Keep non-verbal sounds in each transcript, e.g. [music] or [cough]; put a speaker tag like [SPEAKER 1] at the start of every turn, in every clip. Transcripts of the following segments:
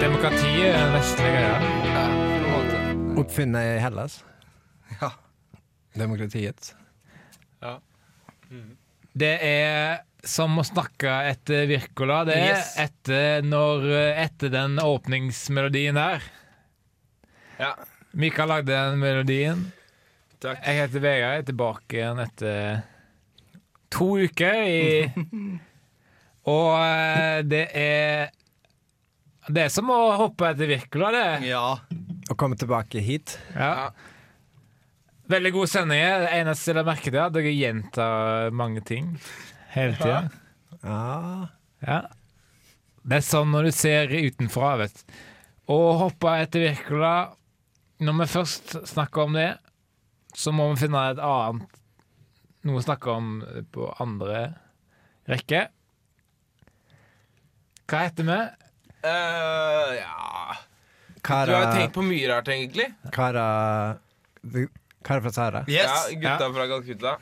[SPEAKER 1] Demokratiet er en vestlig greie.
[SPEAKER 2] Ja, på en måte.
[SPEAKER 3] Oppfinnet i Hellas.
[SPEAKER 2] Ja.
[SPEAKER 3] Demokratiet.
[SPEAKER 1] Det er som å snakke etter Wirkola. Det er
[SPEAKER 2] Yes.
[SPEAKER 1] etter, når, eh, etter den åpningsmelodien der.
[SPEAKER 2] ja.
[SPEAKER 1] Mikael lagde den melodien.
[SPEAKER 2] Takk.
[SPEAKER 1] Jeg heter Vegard. Jeg er tilbake igjen etter to uker i
[SPEAKER 2] [laughs]
[SPEAKER 1] Og eh, det er Det er som å hoppe etter Wirkola, det.
[SPEAKER 2] Ja.
[SPEAKER 3] Å komme tilbake hit.
[SPEAKER 1] Ja. Veldig god sending. Det eneste jeg la merke til, er at dere gjentar mange ting hele tida.
[SPEAKER 3] Ja.
[SPEAKER 1] Ja. Det er sånn når du ser utenfra, vet du. Å hoppe etter Wirkola Når vi først snakker om det, så må vi finne et annet Noe å snakke om på andre rekke. Hva heter vi?
[SPEAKER 2] Eh, ja. Du har jo
[SPEAKER 3] Kara,
[SPEAKER 2] tenkt på mye rart, egentlig.
[SPEAKER 3] Kara the, Kara fra Sahara.
[SPEAKER 2] Ja, gutta fra Calcutta.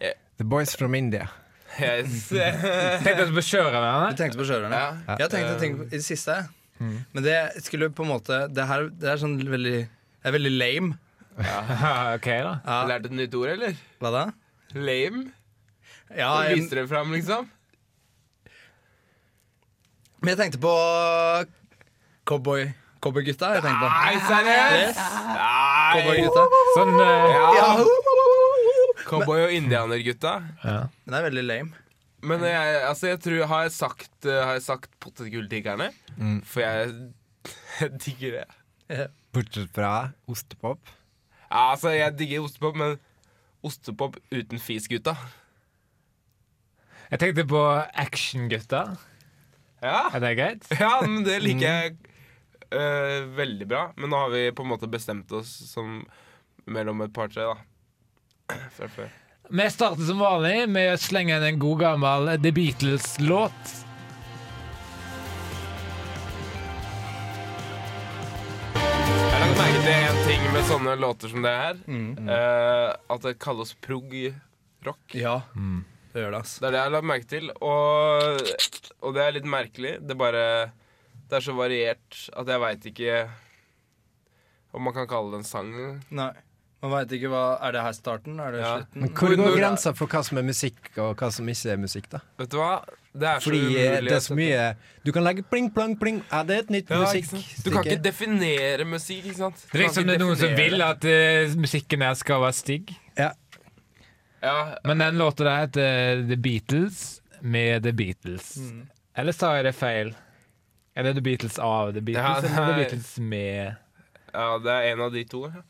[SPEAKER 3] The Boys from India.
[SPEAKER 4] [laughs]
[SPEAKER 2] Yes.
[SPEAKER 1] Tenkte at vi kjører med [laughs]
[SPEAKER 4] Du
[SPEAKER 1] henne.
[SPEAKER 4] tenkte på sjørøverne?
[SPEAKER 2] Ja.
[SPEAKER 4] Jeg tenkte på ting i det siste. Men det skulle på en måte Det her det er sånn veldig Det er veldig lame.
[SPEAKER 1] OK, da.
[SPEAKER 4] Ja,
[SPEAKER 2] [laughs] Lærte du et nytt ord, eller?
[SPEAKER 4] hva da?
[SPEAKER 2] Lame?
[SPEAKER 4] Ja,
[SPEAKER 2] Hva
[SPEAKER 4] jeg,
[SPEAKER 2] viser det fram, liksom?
[SPEAKER 4] men jeg tenkte på uh, cowboy cowboygutta. Jeg tenkte på
[SPEAKER 2] Nei, seriøst?
[SPEAKER 4] Yes.
[SPEAKER 2] Nei.
[SPEAKER 4] Cowboygutta.
[SPEAKER 1] Sånn eh,
[SPEAKER 2] Ja.
[SPEAKER 4] Ja.
[SPEAKER 2] Cowboy og indianergutta.
[SPEAKER 1] ja.
[SPEAKER 4] Men det er veldig lame.
[SPEAKER 2] Men jeg, altså, jeg tror Har jeg sagt, eh, har jeg sagt potetgulltiggerne?
[SPEAKER 4] Mm.
[SPEAKER 2] For jeg, [laughs] jeg digger det.
[SPEAKER 3] Bortsett fra ostepop.
[SPEAKER 2] Ja, altså, jeg digger ostepop, men ostepop uten fis, gutta.
[SPEAKER 1] Jeg tenkte på actiongutta.
[SPEAKER 2] Ja.
[SPEAKER 1] Er det greit?
[SPEAKER 2] ja, men det liker
[SPEAKER 3] Mm.
[SPEAKER 2] jeg eh, veldig bra. Men nå har vi på en måte bestemt oss som mellom et par-tre, da. Fra før.
[SPEAKER 1] Vi starter som vanlig med å slenge inn en god gammel The Beatles-låt.
[SPEAKER 2] Jeg har lagt merke til en ting med sånne låter som det her.
[SPEAKER 3] Mm.
[SPEAKER 2] eh, at det kalles prog-rock.
[SPEAKER 4] Ja, det gjør det, altså.
[SPEAKER 2] Det er det jeg har lagt merke til, og, og det er litt merkelig. Det er bare Det er så variert at jeg veit ikke om man kan kalle det en sang.
[SPEAKER 4] Nei. Man veit ikke hva Er det her starten? Er det
[SPEAKER 2] Ja.
[SPEAKER 4] slutten?
[SPEAKER 3] Men hvor går
[SPEAKER 2] Hvor-
[SPEAKER 3] grensa for hva som er musikk, og hva som ikke er musikk, da?
[SPEAKER 2] Vet du hva? Det er så
[SPEAKER 3] Fordi
[SPEAKER 2] umulig.
[SPEAKER 3] eh, det er så
[SPEAKER 2] å sette-
[SPEAKER 3] mye Du kan legge pling, plang, pling. Er det et nytt
[SPEAKER 2] Ja, ikke sant? Du kan ikke
[SPEAKER 3] musikkstykke?
[SPEAKER 2] definere musikk, ikke sant? Du
[SPEAKER 1] Det virker
[SPEAKER 2] kan
[SPEAKER 1] som det
[SPEAKER 2] ikke
[SPEAKER 1] er noen som
[SPEAKER 2] definere
[SPEAKER 1] vil at eh, musikken her skal være stygg.
[SPEAKER 3] Ja.
[SPEAKER 2] Ja,
[SPEAKER 1] Men den låta der heter The Beatles med The Beatles.
[SPEAKER 4] Mm.
[SPEAKER 1] Eller sa jeg det feil? Er det The Beatles av The Beatles,
[SPEAKER 2] Ja,
[SPEAKER 1] eller The
[SPEAKER 2] nei.
[SPEAKER 1] Beatles med
[SPEAKER 2] ja, det er en av de to. ja.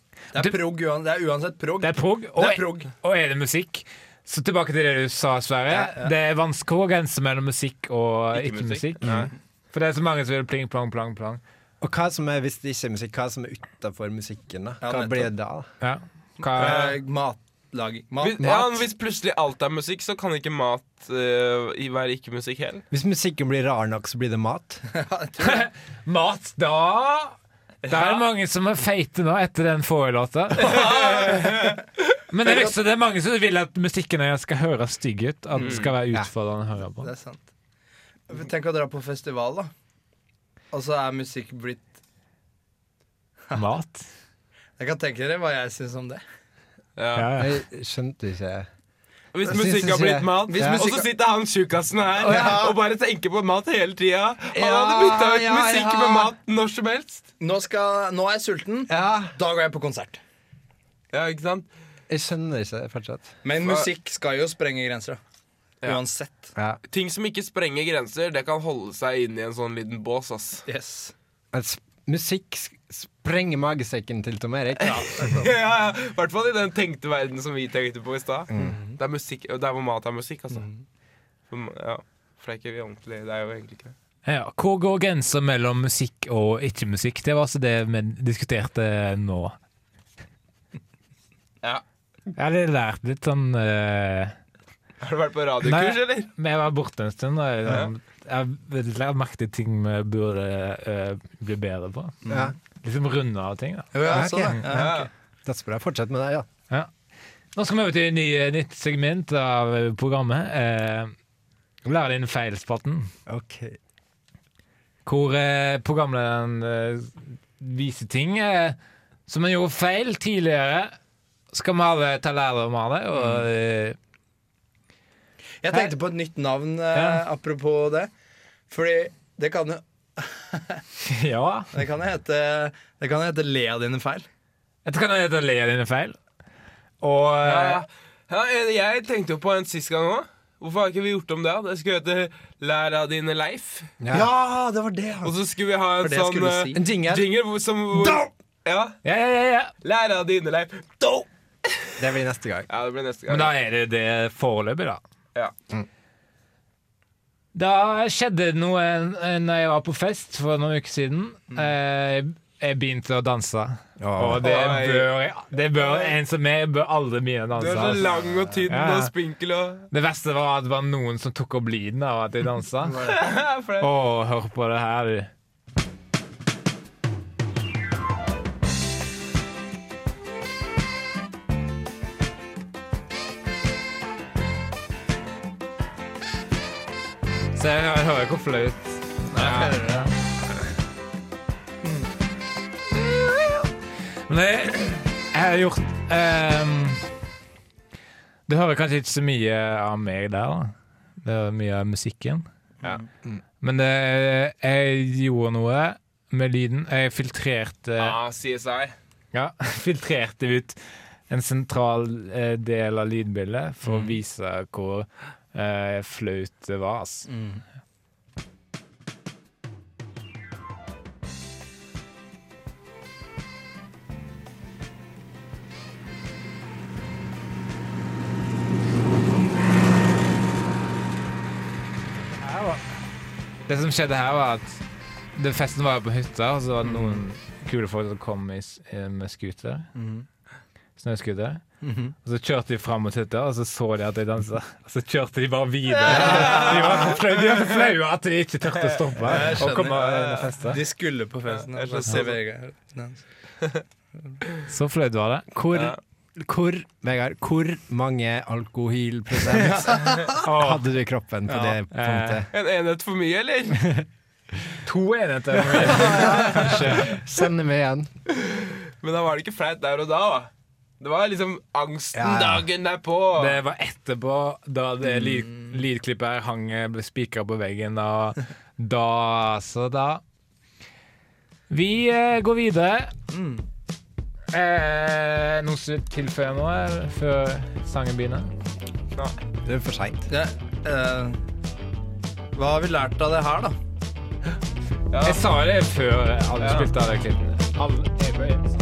[SPEAKER 4] Det er prog, uan- det er uansett prog.
[SPEAKER 1] Det er prog, og,
[SPEAKER 4] Det er prog.
[SPEAKER 1] og er det musikk? Så tilbake til det du sa, Sverre.
[SPEAKER 4] Ja, ja.
[SPEAKER 1] Det er vanskelig å grense mellom musikk og
[SPEAKER 2] Ikke-musikk.
[SPEAKER 1] ikke-musikk. For det er så mange som vil pling, plong, plong, plong.
[SPEAKER 3] Og hva som er, hvis det ikke er musikk, hva som er utafor musikken, da?
[SPEAKER 4] Ja,
[SPEAKER 3] Hva
[SPEAKER 4] nettopp.
[SPEAKER 3] blir det da?
[SPEAKER 1] Ja. Hva,
[SPEAKER 4] Eh, Matlaging. Mat, [laughs]
[SPEAKER 2] Hvis, ja, men hvis plutselig alt er musikk, så kan ikke mat eh, i- være ikke-musikk heller.
[SPEAKER 3] Hvis musikken blir rar nok, så blir det mat.
[SPEAKER 1] [laughs] Mat, da Det er det mange som er feite nå etter den forrige-låta. [laughs] Men det er, liksom, det er mange som vil at musikken her skal høre stygg ut. At den skal være utfordrende å høre på.
[SPEAKER 4] Det er sant. Tenk å dra på festival, da. Og så er musikk blitt
[SPEAKER 1] [laughs] Mat.
[SPEAKER 4] Jeg kan tenke dere hva jeg syns om det.
[SPEAKER 1] Ja,
[SPEAKER 2] Ja.
[SPEAKER 1] ja.
[SPEAKER 3] Jeg skjønte ikke Jeg
[SPEAKER 2] Hvis
[SPEAKER 3] synes
[SPEAKER 2] musikk
[SPEAKER 3] det
[SPEAKER 2] har blitt
[SPEAKER 3] sier-
[SPEAKER 2] mat,
[SPEAKER 4] Hvis
[SPEAKER 2] og så
[SPEAKER 4] musikk-
[SPEAKER 2] sitter han tjukkasen her og bare tenker på mat hele tida. Han
[SPEAKER 4] Ja,
[SPEAKER 2] hadde bytta ut
[SPEAKER 4] ja,
[SPEAKER 2] musikk
[SPEAKER 4] ja.
[SPEAKER 2] med mat når som helst.
[SPEAKER 4] Nå, skal, nå er jeg sulten.
[SPEAKER 3] Ja,
[SPEAKER 4] Da går jeg på konsert.
[SPEAKER 2] Ja, ikke sant?
[SPEAKER 3] jeg skjønner ikke det fortsatt.
[SPEAKER 4] Men
[SPEAKER 2] Hva-
[SPEAKER 4] musikk skal jo sprenge grenser, da.
[SPEAKER 2] Ja.
[SPEAKER 4] Uansett.
[SPEAKER 3] Ja.
[SPEAKER 2] Ting som ikke sprenger grenser, det kan holde seg inne i en sånn liten bås. ass
[SPEAKER 4] Yes.
[SPEAKER 3] At s- musikk s- sprenger magesekken til Tom Erik.
[SPEAKER 2] [laughs] Ja, ja, ja. I hvert fall i den tenkte verden som vi tenkte på i stad. Det er musikk, og der hvor mat er musikk, altså. For, ja. For det er ikke vi ordentlig Det er jo egentlig ikke det.
[SPEAKER 1] Ja, hvor går grensa mellom musikk og ikke-musikk? Det var altså det vi diskuterte nå.
[SPEAKER 2] Ja.
[SPEAKER 1] Jeg hadde lært litt sånn eh,
[SPEAKER 2] [laughs] Har du vært på radiokurs,
[SPEAKER 1] Nei.
[SPEAKER 2] eller?
[SPEAKER 1] Men jeg var borte en stund. Og jeg, jeg, jeg, jeg merket ting vi burde eh, bli bedre på.
[SPEAKER 3] Ja.
[SPEAKER 1] Liksom runde av ting. da
[SPEAKER 4] Jo, ja,
[SPEAKER 3] Ja, ok.
[SPEAKER 4] sånn, ja.
[SPEAKER 2] Ja.
[SPEAKER 3] Det er så bra. Fortsett med det. ja.
[SPEAKER 1] Ja. Nå skal vi over til et ny- eh, nytt segment av Eh, programmet. Eh, Lære din feilspatten.
[SPEAKER 3] Ok.
[SPEAKER 1] hvor eh, programlederen eh, viser ting eh, som en gjorde feil tidligere. Skal vi alle ta lærdom av det?
[SPEAKER 2] Mm.
[SPEAKER 1] Og, eh, [laughs]
[SPEAKER 4] Jeg tenkte på et nytt navn eh,
[SPEAKER 1] Ja.
[SPEAKER 4] apropos det. Fordi det kan jo
[SPEAKER 1] ja.
[SPEAKER 4] det kan jo hete Det kan jo hete Le av dine feil.
[SPEAKER 1] Dette kan hete Le av dine feil. Og
[SPEAKER 2] Ja,
[SPEAKER 1] eh,
[SPEAKER 2] ja. ja, jeg- jeg tenkte jo på en sist gang òg. Hvorfor har ikke vi gjort om det? da? Det skulle hete 'Lær av dine Leif'.
[SPEAKER 1] Ja.
[SPEAKER 4] det var det!
[SPEAKER 3] altså.
[SPEAKER 2] Og så skulle vi ha en
[SPEAKER 4] For det skulle
[SPEAKER 2] sånn
[SPEAKER 4] du
[SPEAKER 2] eh,
[SPEAKER 4] si.
[SPEAKER 3] En jingle.
[SPEAKER 2] jingle hvor- som hvor,
[SPEAKER 4] Da!
[SPEAKER 2] Ja.
[SPEAKER 1] ja, ja, ja, ja.
[SPEAKER 2] 'Lær av dine Leif'. Do!
[SPEAKER 3] Det blir neste gang.
[SPEAKER 2] Ja, det blir neste gang.
[SPEAKER 1] Men da er det jo det foreløpig, da.
[SPEAKER 2] Ja.
[SPEAKER 1] Da skjedde det noe eh, når jeg var på fest for noen uker siden.
[SPEAKER 2] Mm.
[SPEAKER 1] Eh, jeg begynte å danse. Og det
[SPEAKER 2] Oi.
[SPEAKER 1] bør, det bør en som meg bør aldri begynne å
[SPEAKER 2] Du
[SPEAKER 1] danse.
[SPEAKER 2] er så
[SPEAKER 1] altså.
[SPEAKER 2] lang og tynn
[SPEAKER 1] Ja.
[SPEAKER 2] og spinkel og
[SPEAKER 1] Det verste var at det var noen som tok opp lyden av at jeg dansa.
[SPEAKER 2] [laughs] For det-
[SPEAKER 1] Å, hør på det her, du. Så jeg, jeg hører hvor flaut ja. Mm. Men jeg, jeg har gjort ehm, Du hører kanskje ikke så mye av meg der, da. Det er mye av musikken. Men det, jeg gjorde noe med lyden. Jeg filtrerte
[SPEAKER 2] Ja, CSI.
[SPEAKER 1] Ja, [laughs] filtrerte ut en sentral eh, del av lydbildet for å vise hvor eh, flaut det var. ass. Her var- Det som skjedde her, var at det festen var jo på hytta, og så var det noen kule folk som kom i, s- eh, med scooter. Snøscooter. Og så kjørte de fram mot hytta, og så så de at de [laughs] dansa. Og så kjørte de bare videre. De var så flau- de var så flaue at de ikke turte å stoppe
[SPEAKER 4] Jeg
[SPEAKER 1] og komme
[SPEAKER 4] skjønner.
[SPEAKER 1] inn og feste.
[SPEAKER 4] De skulle på festen.
[SPEAKER 2] Ja, jeg
[SPEAKER 4] altså.
[SPEAKER 2] skjønner.
[SPEAKER 4] Vegard. Nei.
[SPEAKER 1] Så flaut var det.
[SPEAKER 3] Hvor,
[SPEAKER 2] Ja.
[SPEAKER 3] hvor, Vegard, hvor mange alkoholprosent [laughs]
[SPEAKER 1] Åh,
[SPEAKER 3] hadde du i kroppen på
[SPEAKER 4] Ja.
[SPEAKER 3] det punktet?
[SPEAKER 2] En enhet for mye, eller?
[SPEAKER 1] to enheter. [laughs]
[SPEAKER 3] Send det med igjen.
[SPEAKER 2] Men da var det ikke flaut der og da. da. Det var liksom angsten
[SPEAKER 3] Ja, ja.
[SPEAKER 2] dagen derpå.
[SPEAKER 1] Det var etterpå, da det
[SPEAKER 3] Mm.
[SPEAKER 1] lyd, lydklippet her hang eh, ble spikra på veggen, og da Så da Vi eh, går videre.
[SPEAKER 3] Mm.
[SPEAKER 1] Eh, noen som vil tilføye noe eller, før sangen begynner?
[SPEAKER 3] Det er for seint.
[SPEAKER 4] Ja, eh, hva har vi lært av det her, da?
[SPEAKER 2] Ja.
[SPEAKER 1] Jeg sa det før alle
[SPEAKER 2] Ja.
[SPEAKER 1] spilte av det klippet. Alle, jeg bare,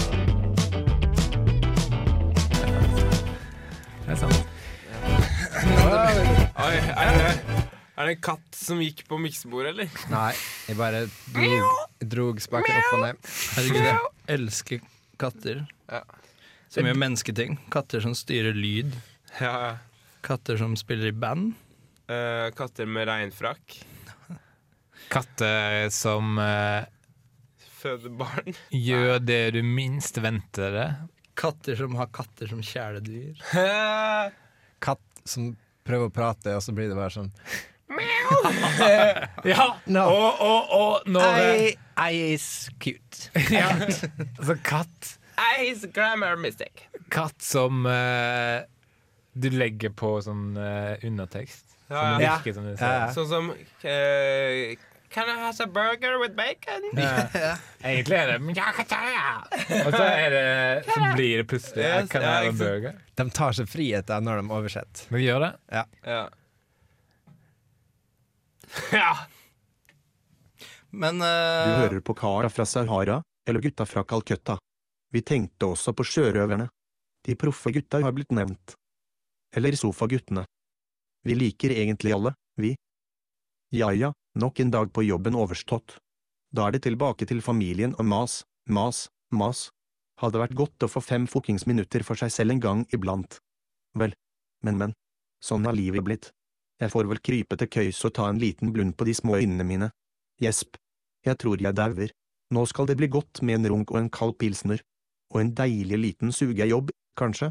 [SPEAKER 1] det er sant.
[SPEAKER 2] Oi, er, det, er det en katt som gikk på miksebordet, eller?
[SPEAKER 3] Nei, jeg bare drog, drog spaken opp og ned.
[SPEAKER 4] Herregud, jeg elsker katter.
[SPEAKER 2] Ja.
[SPEAKER 4] Som gjør mennesketing. Katter som styrer lyd.
[SPEAKER 2] Ja, ja.
[SPEAKER 4] Katter som spiller i band.
[SPEAKER 2] Eh, katter med regnfrakk.
[SPEAKER 1] Katter som eh,
[SPEAKER 2] Føde barn. [laughs]
[SPEAKER 1] gjør det du minst venter det.
[SPEAKER 4] Katter som har katter som kjæledyr.
[SPEAKER 3] Katt som prøver å prate, og så blir det bare sånn
[SPEAKER 1] Ja!
[SPEAKER 3] No.
[SPEAKER 1] Og, og, og når eh,
[SPEAKER 3] is cute.
[SPEAKER 1] [laughs]
[SPEAKER 3] [laughs]
[SPEAKER 1] Ja. Altså katt
[SPEAKER 2] Ice grammar mistake.
[SPEAKER 1] Katt som eh, du legger på sånn eh, undertekst. Som
[SPEAKER 2] Ja, ja.
[SPEAKER 3] Ja.
[SPEAKER 1] virker som du
[SPEAKER 3] Ja,
[SPEAKER 1] sier.
[SPEAKER 3] ja.
[SPEAKER 2] Sånn som eh, Can I have a burger with bacon?
[SPEAKER 1] Egentlig er det "Men jeg kan ta det." Og så, er det, så blir det plutselig
[SPEAKER 2] Yes,
[SPEAKER 1] Kan
[SPEAKER 2] ja,
[SPEAKER 1] jeg ha en
[SPEAKER 2] ikke sant.
[SPEAKER 1] burger?
[SPEAKER 3] De tar seg friheter når de oversetter.
[SPEAKER 1] Vi gjør det.
[SPEAKER 2] [laughs] Ja.
[SPEAKER 4] Men
[SPEAKER 5] Du
[SPEAKER 4] eh,
[SPEAKER 5] hører på kara fra Sahara, eller gutta fra Calcutta. Vi tenkte også på sjørøverne. De proffe gutta har blitt nevnt. Eller sofaguttene. Vi liker egentlig alle, vi. Ja ja, nok en dag på jobben overstått. Da er det tilbake til familien og mas, mas, mas. Hadde vært godt å få fem fuckings minutter for seg selv en gang iblant. Vel, men men. Sånn har livet blitt. Jeg får vel krype til køys og ta en liten blund på de små øynene mine. Gjesp. Jeg tror jeg dauer. Nå skal det bli godt med en runk og en kald pilsner. Og en deilig liten sugejobb, kanskje?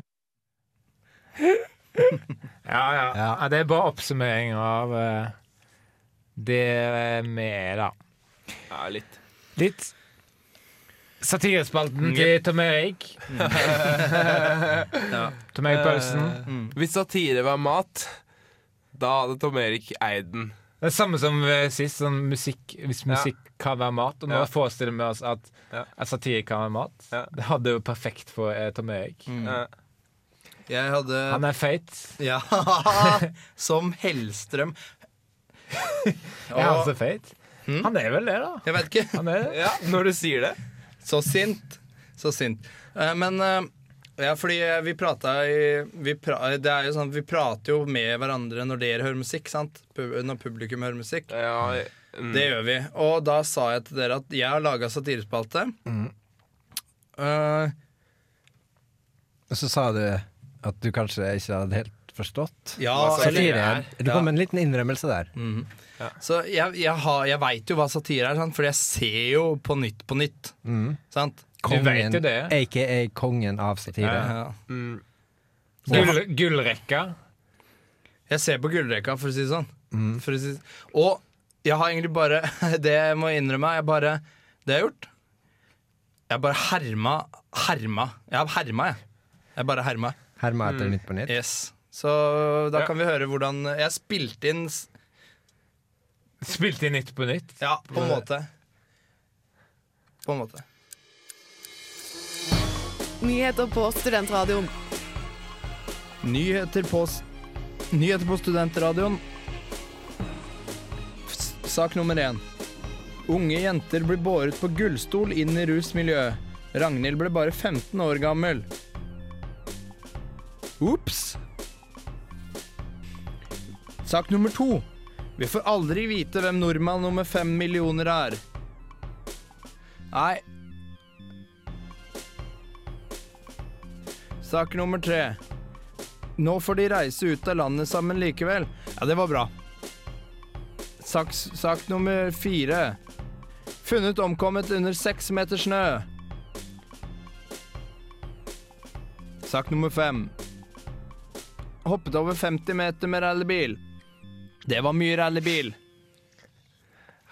[SPEAKER 1] Ja, ja. ja.
[SPEAKER 3] Ja.
[SPEAKER 1] Det eh, er bare oppsummering av eh, det vi er, da.
[SPEAKER 2] Ja, litt.
[SPEAKER 1] Litt satirespalten
[SPEAKER 2] Mm,
[SPEAKER 1] til Tom Erik.
[SPEAKER 2] [laughs]
[SPEAKER 4] Ja.
[SPEAKER 1] Tom Erik Paulsen.
[SPEAKER 3] Eh, mm.
[SPEAKER 2] Hvis satire var mat, da hadde Tom Erik eid den.
[SPEAKER 1] Det er samme som eh, sist, sånn musikk, hvis musikk kan være mat. Og nå
[SPEAKER 2] Ja.
[SPEAKER 1] forestiller vi oss at,
[SPEAKER 2] Ja.
[SPEAKER 1] at satire kan være mat.
[SPEAKER 2] Ja.
[SPEAKER 1] Det hadde jo perfekt for eh, Tom Erik.
[SPEAKER 3] Mm.
[SPEAKER 2] Ja.
[SPEAKER 4] Jeg hadde
[SPEAKER 1] Han er feit.
[SPEAKER 4] Ja, [laughs] som Hellstrøm.
[SPEAKER 1] Er han
[SPEAKER 4] Og,
[SPEAKER 1] så feit? Han er vel det, da.
[SPEAKER 4] jeg vet ikke.
[SPEAKER 1] altså. Han er det.
[SPEAKER 2] ja, når du sier det.
[SPEAKER 4] Så sint. Så sint. Eh, Men eh, ja, fordi eh, vi prata i vi, pra, Det er jo sånn, vi prater jo med hverandre når dere hører musikk, sant? Pu- Når publikum hører musikk.
[SPEAKER 2] Ja, mm.
[SPEAKER 4] Det gjør vi. Og da sa jeg til dere at jeg har laga satirespalte. Eh,
[SPEAKER 3] Og så sa du at du kanskje ikke hadde helt forstått.
[SPEAKER 4] ja,
[SPEAKER 2] Hva sa
[SPEAKER 4] eller,
[SPEAKER 2] dere?
[SPEAKER 3] Satire. Du kom med en liten innrømmelse der.
[SPEAKER 4] Mm. så jeg, jeg, har- jeg veit jo hva satire er, sant? for jeg ser jo på nytt på nytt. Sant?
[SPEAKER 1] vet jo det.
[SPEAKER 3] aka kongen av satire.
[SPEAKER 4] Ja.
[SPEAKER 2] Mm.
[SPEAKER 1] Gull, gullrekka.
[SPEAKER 4] Jeg ser på gullrekka, for å si det sånn. For å si, og jeg har egentlig bare [laughs] Det jeg må innrømme, jeg bare Det jeg har gjort Jeg bare herma Herma. Jeg har herma, jeg. Jeg bare herma.
[SPEAKER 3] Herma
[SPEAKER 4] Mm.
[SPEAKER 3] etter Nytt på Nytt.
[SPEAKER 4] Yes. Så da kan vi høre hvordan Jeg spilte inn s-
[SPEAKER 1] Spilte i Nytt på nytt.
[SPEAKER 4] Ja, på en måte. På en måte.
[SPEAKER 6] Nyheter på Studentradioen.
[SPEAKER 4] Nyheter på, s- Nyheter på studentradioen. S- Sak nummer én. Unge jenter blir båret på gullstol inn i rusmiljøet. Ragnhild ble bare 15 år gammel. Ops! Sak nummer to. Vi får aldri vite hvem nordmann nummer fem millioner er. Nei. Sak nummer tre. Nå får de reise ut av landet sammen likevel. Ja, det var bra. Sak, sak nummer fire. Funnet omkommet under seks meter snø. Sak nummer fem. Hoppet over 50 meter med rallybil. Det var mye rallybil.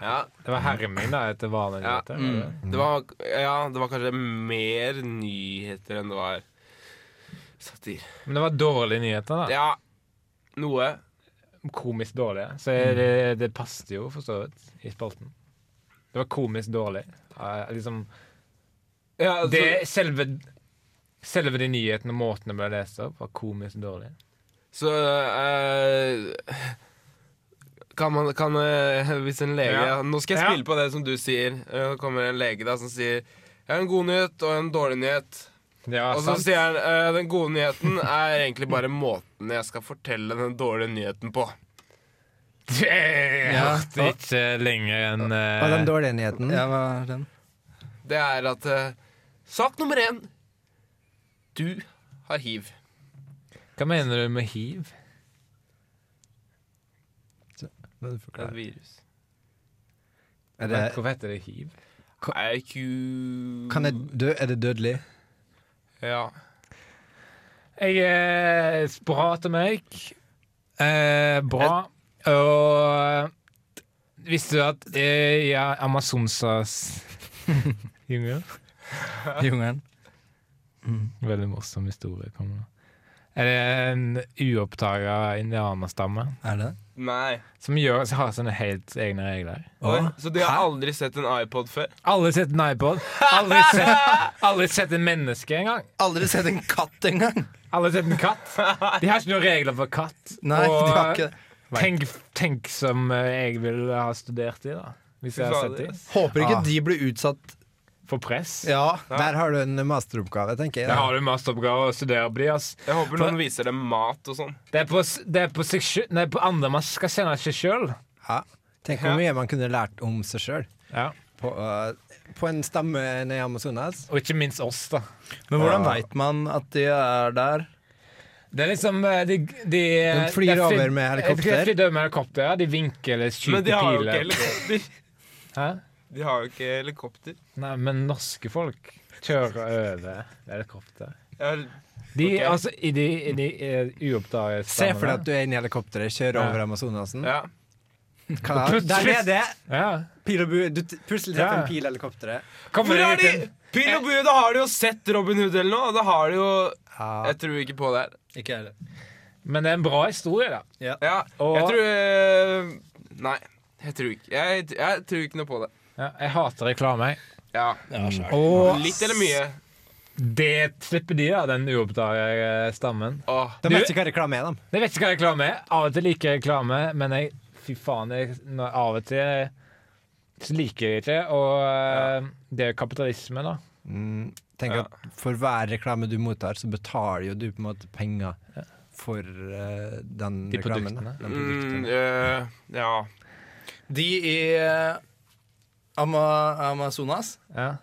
[SPEAKER 2] Ja,
[SPEAKER 1] Det var herren min, da, etter vanlig.
[SPEAKER 2] Ja.
[SPEAKER 1] nyheter, var det det?
[SPEAKER 2] det var, ja, det var kanskje mer nyheter enn det var satir.
[SPEAKER 1] Men det var dårlige nyheter, da.
[SPEAKER 2] Ja, noe.
[SPEAKER 1] Komisk dårlige. Så jeg, det, det passet jo, for så vidt, i spalten. Det var komisk dårlig. Eh, liksom
[SPEAKER 2] Ja, altså- så-
[SPEAKER 1] Det selve Selve de nyhetene og måtene ble lest opp, var komisk dårlig.
[SPEAKER 2] Så eh, kan man kan, eh, Hvis en lege
[SPEAKER 1] Ja.
[SPEAKER 2] Nå skal jeg
[SPEAKER 1] Ja.
[SPEAKER 2] spille på det som du sier. Eh, kommer en lege da som sier Jeg har en god nyhet og en dårlig nyhet.
[SPEAKER 1] Ja,
[SPEAKER 2] Og så sier han eh, den gode nyheten er egentlig bare måten jeg skal fortelle den dårlige nyheten [laughs] på.
[SPEAKER 1] Jeg hørte ikke lenger enn
[SPEAKER 3] Og den
[SPEAKER 1] eh,
[SPEAKER 3] dårlige nyheten
[SPEAKER 4] hva er den?
[SPEAKER 2] Det er at eh, Sak nummer én Du har hiv.
[SPEAKER 1] Hva mener du med hiv?
[SPEAKER 3] Men du
[SPEAKER 2] Det er
[SPEAKER 3] forklarer.
[SPEAKER 2] et virus.
[SPEAKER 3] Er det,
[SPEAKER 1] Hvorfor heter det hiv?
[SPEAKER 2] Er ku...
[SPEAKER 3] kan jeg dø? Er det dødelig?
[SPEAKER 2] Ja.
[SPEAKER 1] Jeg er bra til meg. Eh, bra. Og eh, visste du at eh, ja, Amazonsas [laughs] jungel
[SPEAKER 4] Jungelen.
[SPEAKER 1] Mm. Veldig morsom historie kommer nå. Er det en uoppdaga indianerstamme
[SPEAKER 4] Er det?
[SPEAKER 2] Nei.
[SPEAKER 1] som gjør, som har sine helt egne regler?
[SPEAKER 2] Oi, så du har aldri sett en iPod før?
[SPEAKER 1] Aldri sett en iPod. Aldri sett, aldri sett en menneske engang.
[SPEAKER 4] Aldri sett en katt engang!
[SPEAKER 1] Aldri sett en katt. De har ikke noen regler for katt.
[SPEAKER 4] Nei,
[SPEAKER 1] Og, eh,
[SPEAKER 4] de har ikke det.
[SPEAKER 1] Tenk, tenk som eh, jeg ville ha studert i, da. Hvis jeg hadde
[SPEAKER 2] Fader.
[SPEAKER 1] sett de.
[SPEAKER 4] Håper ikke
[SPEAKER 3] Ah.
[SPEAKER 4] de blir utsatt
[SPEAKER 1] For press.
[SPEAKER 4] Ja.
[SPEAKER 3] Der har du en masteroppgave, tenker jeg.
[SPEAKER 1] Der har du masteroppgave å studere på de, ass.
[SPEAKER 2] Jeg håper noen viser dem mat og sånn.
[SPEAKER 1] Det er på, s- det er på, seg, sjø- nei, på andre man skal kjenne seg sjøl.
[SPEAKER 3] Ja. Tenk hvor mye man kunne lært om seg sjøl.
[SPEAKER 1] Ja.
[SPEAKER 3] På, øh, på en stamme nede i Amazonas.
[SPEAKER 1] Og ikke minst oss, da.
[SPEAKER 4] Men hvordan veit man at de er der?
[SPEAKER 1] Det er liksom eh, De, de, de
[SPEAKER 3] flyr
[SPEAKER 1] det er fly-
[SPEAKER 3] over med helikopter.
[SPEAKER 1] De flyr over med helikopter, ja. De vinker eller skyter
[SPEAKER 2] Men de har jo ikke
[SPEAKER 1] piler.
[SPEAKER 2] helikopter.
[SPEAKER 1] Hæ?
[SPEAKER 2] De har jo ikke helikopter.
[SPEAKER 1] Nei, men norske folk kjører over helikopter.
[SPEAKER 2] Jeg,
[SPEAKER 1] De,
[SPEAKER 2] Ok.
[SPEAKER 1] altså, i de, i de eh, uoppdagede
[SPEAKER 3] Se for deg at
[SPEAKER 1] stammene.
[SPEAKER 3] du er inne i helikopteret, kjører
[SPEAKER 1] Ja.
[SPEAKER 3] over Amazonasen.
[SPEAKER 2] ja.
[SPEAKER 3] Hva-
[SPEAKER 1] Og plutselig-
[SPEAKER 3] Der nede
[SPEAKER 1] Ja.
[SPEAKER 7] Pil og bue. Du t- plutselig treffer
[SPEAKER 1] Ja.
[SPEAKER 7] en pil i helikopteret.
[SPEAKER 1] Kommer
[SPEAKER 2] Hvor er
[SPEAKER 1] det
[SPEAKER 2] de?
[SPEAKER 1] ut en-
[SPEAKER 2] Pil og bue, da har de jo sett Robin Hood eller noe. og Da har de jo Jeg tror ikke på det her.
[SPEAKER 4] Ikke jeg heller.
[SPEAKER 1] Men det er en bra historie, da.
[SPEAKER 2] Ja,
[SPEAKER 1] Og-
[SPEAKER 2] jeg tror eh, Nei, jeg tror ikke jeg, jeg tror ikke noe på det.
[SPEAKER 1] Ja, jeg hater reklame. jeg.
[SPEAKER 2] Ja,
[SPEAKER 1] Og
[SPEAKER 2] Litt eller mye.
[SPEAKER 1] det slipper de, da, den uoppdaga stammen.
[SPEAKER 2] Åh.
[SPEAKER 7] De vet ikke hva reklame er, de.
[SPEAKER 1] Jeg vet ikke hva reklame er. Av og til liker jeg reklame, men jeg, fy faen, jeg, når, av og til eh, så liker jeg ikke. Og eh, det er jo kapitalisme, da.
[SPEAKER 3] Tenk Mm, at for hver reklame du mottar, så betaler jo du på en måte penger for eh, den
[SPEAKER 1] De
[SPEAKER 3] reklamen.
[SPEAKER 1] produktene.
[SPEAKER 3] Den
[SPEAKER 2] Mm,
[SPEAKER 3] produkten.
[SPEAKER 2] eh, ja.
[SPEAKER 4] De i eh, Ama Amazonas,
[SPEAKER 1] Ja.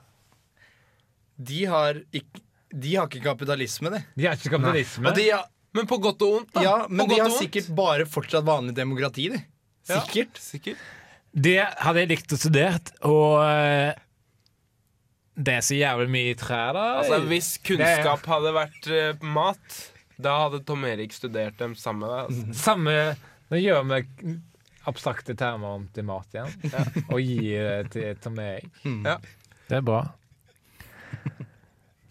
[SPEAKER 4] de har ikke de har ikke kapitalisme, de.
[SPEAKER 1] De har ikke kapitalisme.
[SPEAKER 4] Og de, har-
[SPEAKER 2] Men på godt og vondt, da.
[SPEAKER 4] ja, men
[SPEAKER 2] på
[SPEAKER 4] de
[SPEAKER 2] godt
[SPEAKER 4] har
[SPEAKER 2] og vondt.
[SPEAKER 4] sikkert bare fortsatt vanlig demokrati, de.
[SPEAKER 2] Ja.
[SPEAKER 4] Sikkert.
[SPEAKER 2] Sikkert.
[SPEAKER 1] Det hadde jeg likt å studert, og eh, det er så jævlig mye i trær, da.
[SPEAKER 2] Altså, hvis kunnskap hadde vært eh, mat, da hadde Tom Erik studert dem sammen med deg. Altså.
[SPEAKER 1] Samme Nå gjør vi abstrakte termer om til mat igjen, og gir det til Tom Erik.
[SPEAKER 2] Ja.
[SPEAKER 1] Hmm. Det er [laughs] bra.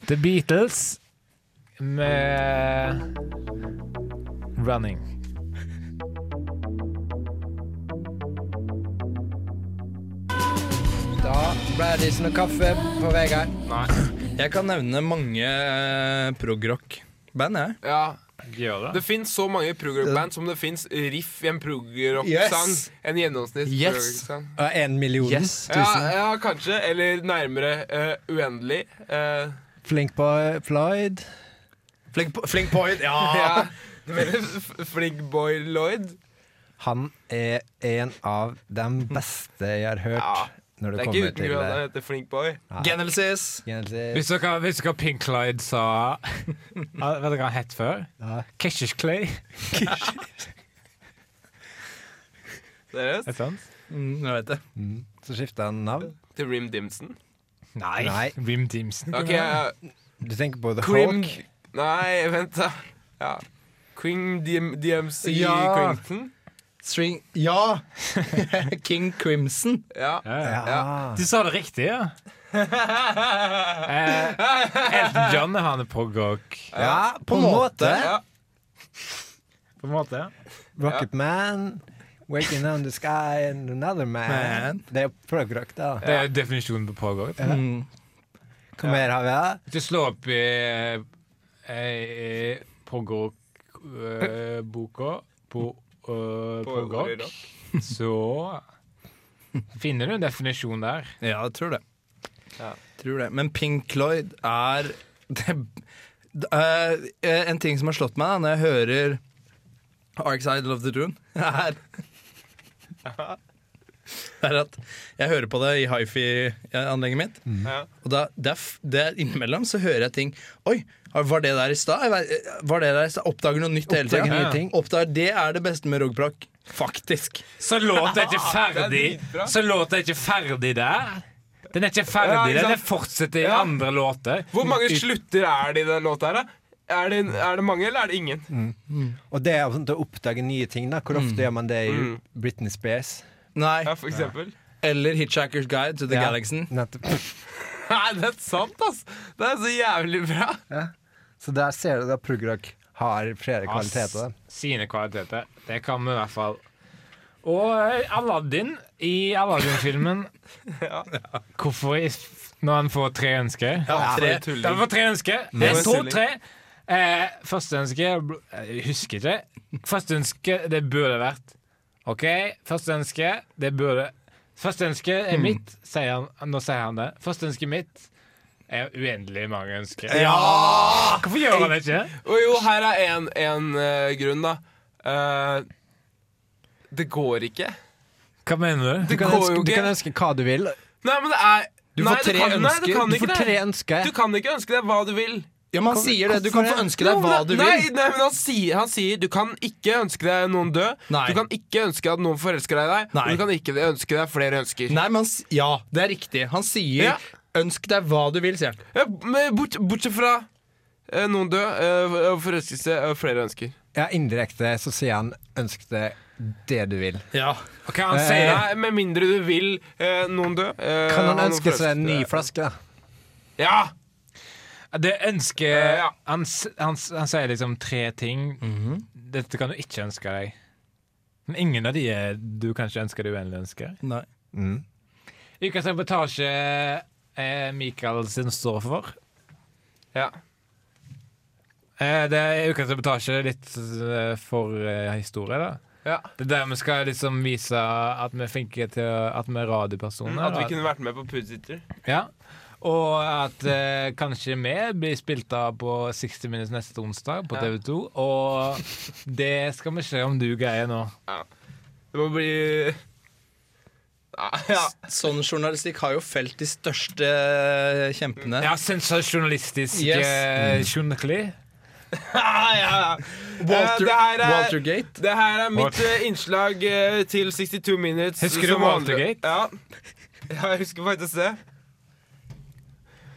[SPEAKER 1] The Beatles med Running.
[SPEAKER 3] Da ble det ikke noe kaffe på Vegard.
[SPEAKER 4] Jeg kan nevne mange eh, progrock-band, jeg.
[SPEAKER 2] Ja.
[SPEAKER 1] Gjør
[SPEAKER 2] Det fins så mange progrock-band som det fins riff i en progrock-sang.
[SPEAKER 4] Yes.
[SPEAKER 2] En gjennomsnitt
[SPEAKER 4] Yes.
[SPEAKER 2] progrock-sang.
[SPEAKER 3] Og én million.
[SPEAKER 2] Ja, ja, kanskje. Eller nærmere eh, uendelig. Eh,
[SPEAKER 3] Flink på Floyd.
[SPEAKER 4] Flink, po- flink point, [laughs] ja!
[SPEAKER 2] ja. [laughs] Du mener f- Flink Boy Lloyd?
[SPEAKER 3] Han er en av de beste jeg har hørt.
[SPEAKER 2] Ja,
[SPEAKER 3] når det,
[SPEAKER 2] Det er ikke
[SPEAKER 3] kommer
[SPEAKER 2] uten
[SPEAKER 3] til
[SPEAKER 2] grunn at han
[SPEAKER 3] det.
[SPEAKER 2] heter Flink Boy.
[SPEAKER 4] Genesis.
[SPEAKER 3] Genesis.
[SPEAKER 1] Hvis dere hvis dere Pink Clyde sa Ja, Vet dere hva han het før?
[SPEAKER 3] Ja.
[SPEAKER 1] Keshish Clay.
[SPEAKER 2] Seriøst?
[SPEAKER 1] Er det sant?
[SPEAKER 4] Mm, jeg vet det.
[SPEAKER 3] Mm. Så skifta han navn.
[SPEAKER 2] Til Rim Dimson.
[SPEAKER 1] Nei.
[SPEAKER 3] Nei.
[SPEAKER 1] Rim Dimson.
[SPEAKER 2] Ok, ja.
[SPEAKER 3] Du tenker på The
[SPEAKER 2] Crim
[SPEAKER 3] Hulk.
[SPEAKER 2] Nei, vent, da. Ja. Queen DM, DMC
[SPEAKER 4] Ja.
[SPEAKER 2] Quinton.
[SPEAKER 4] String [laughs] Ja! King Crimson.
[SPEAKER 2] Ja.
[SPEAKER 1] Ja, ja.
[SPEAKER 3] Ja.
[SPEAKER 1] Du sa det riktig, [laughs] ja. eh, Elton John er han prog-rock.
[SPEAKER 3] Ja, på en måte.
[SPEAKER 2] ja.
[SPEAKER 1] På en måte.
[SPEAKER 3] Rocket Man. Waking on the sky and another man.
[SPEAKER 4] Man.
[SPEAKER 3] Det er progrock, da.
[SPEAKER 1] Det er definisjonen på prog-rock.
[SPEAKER 4] Mm.
[SPEAKER 3] Hva mer har vi? da?
[SPEAKER 1] Hvis du slår opp i, eh, i prog-rock-boka på eh, prog-rock, så finner du en definisjon der.
[SPEAKER 4] Ja, jeg tror det.
[SPEAKER 2] Ja.
[SPEAKER 4] Tror det. Men Pink Floyd er det, d- eh, En ting som har slått meg da, når jeg hører Arcs Idol of the Dune, [laughs] er er at jeg hører på det i hifi-anlegget mitt.
[SPEAKER 3] Mm.
[SPEAKER 2] Ja.
[SPEAKER 4] Og da, det er f- det er innimellom så hører jeg ting Oi, var det der i stad? Jeg vet- eh, Var det der i stad? Oppdager noe nytt hele
[SPEAKER 3] Oppdager
[SPEAKER 4] tiden.
[SPEAKER 3] nye ting.
[SPEAKER 4] Oppdager, det er det beste med rogbrock. Faktisk.
[SPEAKER 1] Så låta er ikke ferdig
[SPEAKER 2] Det er dritbra.
[SPEAKER 1] Så låta er ikke ferdig der. Den er ikke ferdig
[SPEAKER 2] Ja, ikke
[SPEAKER 1] der.
[SPEAKER 2] sant?
[SPEAKER 1] Den fortsetter i
[SPEAKER 2] Ja.
[SPEAKER 1] andre låter.
[SPEAKER 2] Hvor mange
[SPEAKER 1] Ut-
[SPEAKER 2] slutter er det i den låta her, da? Er det, er det mange, eller er det ingen?
[SPEAKER 3] Og det er jo sånn til å oppdage nye ting. da Hvor ofte gjør man det i Britney Spears?
[SPEAKER 4] Nei.
[SPEAKER 2] Ja, for eksempel. [laughs]
[SPEAKER 4] Eller Hitchhiker's Guide to the
[SPEAKER 3] Ja.
[SPEAKER 4] Galaxy.
[SPEAKER 3] Nettopp.
[SPEAKER 2] Nei, det er sant, ass! Det er så jævlig bra.
[SPEAKER 3] Så der ser du at progrock har flere kvaliteter.
[SPEAKER 1] Ass, Sine kvaliteter. Det kan vi i hvert fall. Og eh, Aladdin i Aladdin-filmen Hvorfor i f- Når han får tre ønsker?
[SPEAKER 4] Ja,
[SPEAKER 2] For
[SPEAKER 4] tre.
[SPEAKER 2] en tulling.
[SPEAKER 1] Han får tre ønsker.
[SPEAKER 2] Det
[SPEAKER 1] Det
[SPEAKER 2] var
[SPEAKER 1] står
[SPEAKER 2] silly.
[SPEAKER 1] tre. Eh, første ønske jeg bl- eh, Jeg husker ikke. Første ønske, det burde vært OK, første ønske, det burde Første ønske er mitt, sier han. Nå sier han det. Første ønske mitt er uendelig mange ønsker. Hvorfor gjør han det ikke?
[SPEAKER 2] Og jo, her er en, en eh, grunn, da. Eh, det går ikke.
[SPEAKER 1] Hva mener
[SPEAKER 3] Du
[SPEAKER 2] Det
[SPEAKER 3] kan,
[SPEAKER 2] går
[SPEAKER 3] ønske,
[SPEAKER 2] jo
[SPEAKER 3] du
[SPEAKER 2] ikke.
[SPEAKER 3] kan ønske hva du vil.
[SPEAKER 2] Nei, men det er
[SPEAKER 4] Du
[SPEAKER 2] nei,
[SPEAKER 4] får tre
[SPEAKER 2] kan, Nei, du
[SPEAKER 4] ønsker.
[SPEAKER 2] kan
[SPEAKER 3] Du
[SPEAKER 2] ikke
[SPEAKER 3] får
[SPEAKER 2] det.
[SPEAKER 3] tre ønsker.
[SPEAKER 2] Du kan ikke ønske deg hva du vil.
[SPEAKER 4] Ja, men han sier det. Du kan få ønske deg hva du
[SPEAKER 2] nei,
[SPEAKER 4] vil.
[SPEAKER 2] nei, men han sier, han sier du kan ikke ønske deg noen død.
[SPEAKER 4] Nei.
[SPEAKER 2] Du kan ikke ønske at noen forelsker deg i deg.
[SPEAKER 4] Nei.
[SPEAKER 2] Og du kan ikke ønske deg flere ønsker.
[SPEAKER 4] Nei, men han, s- ja, det er riktig. Han sier
[SPEAKER 2] Ja.
[SPEAKER 4] 'ønsk deg hva du vil', sier han.
[SPEAKER 2] Ja, men bort, bortsett fra eh, noen død, eh, og forelskelse og flere ønsker.
[SPEAKER 3] Ja, indirekte så sier han 'ønsk deg det du vil'.
[SPEAKER 4] Ja.
[SPEAKER 1] Ok, han
[SPEAKER 3] Eh,
[SPEAKER 1] sier
[SPEAKER 2] Nei, med mindre du vil eh, noen dø. eh,
[SPEAKER 3] Kan han
[SPEAKER 2] ha noen
[SPEAKER 3] ønske seg en ny
[SPEAKER 2] forelskede.
[SPEAKER 3] flaske, da?
[SPEAKER 2] Ja!
[SPEAKER 1] Det ønsker
[SPEAKER 2] Eh, ja.
[SPEAKER 1] han, s- han, s- han sier liksom tre ting. Dette kan du ikke ønske deg. Men ingen av de er du kanskje ønsker du egentlig ønsker.
[SPEAKER 4] Nei.
[SPEAKER 1] Ukas reportasje eh, Mikael sin står for.
[SPEAKER 2] ja.
[SPEAKER 1] Eh, det er ukas reportasje litt eh, for eh, historie, da.
[SPEAKER 2] ja.
[SPEAKER 1] Det er der vi skal liksom vise at vi er flinke til å- Mm, at vi er radiopersoner.
[SPEAKER 2] At vi
[SPEAKER 1] og
[SPEAKER 2] kunne vært med på Pudsitter.
[SPEAKER 1] ja. Og at eh, kanskje vi blir spilt av på 60 Minutes neste onsdag på
[SPEAKER 2] Ja.
[SPEAKER 1] TV 2. Og det skal vi se om du greier nå.
[SPEAKER 2] Det må bli [laughs] ja, ja.
[SPEAKER 4] Sånn journalistikk har jo felt de største eh, kjempene.
[SPEAKER 1] Ja, sensasjonalistisk
[SPEAKER 4] Yes.
[SPEAKER 1] eh, journalistikk.
[SPEAKER 2] ja, ja. Eh,
[SPEAKER 4] Walter,
[SPEAKER 2] det her er- eh,
[SPEAKER 4] Waltergate.
[SPEAKER 2] Det her er mitt eh, innslag eh, til 62 Minutes.
[SPEAKER 1] Husker du
[SPEAKER 2] som handler-
[SPEAKER 1] Watergate?
[SPEAKER 2] Ja. [laughs] ja, jeg husker faktisk det.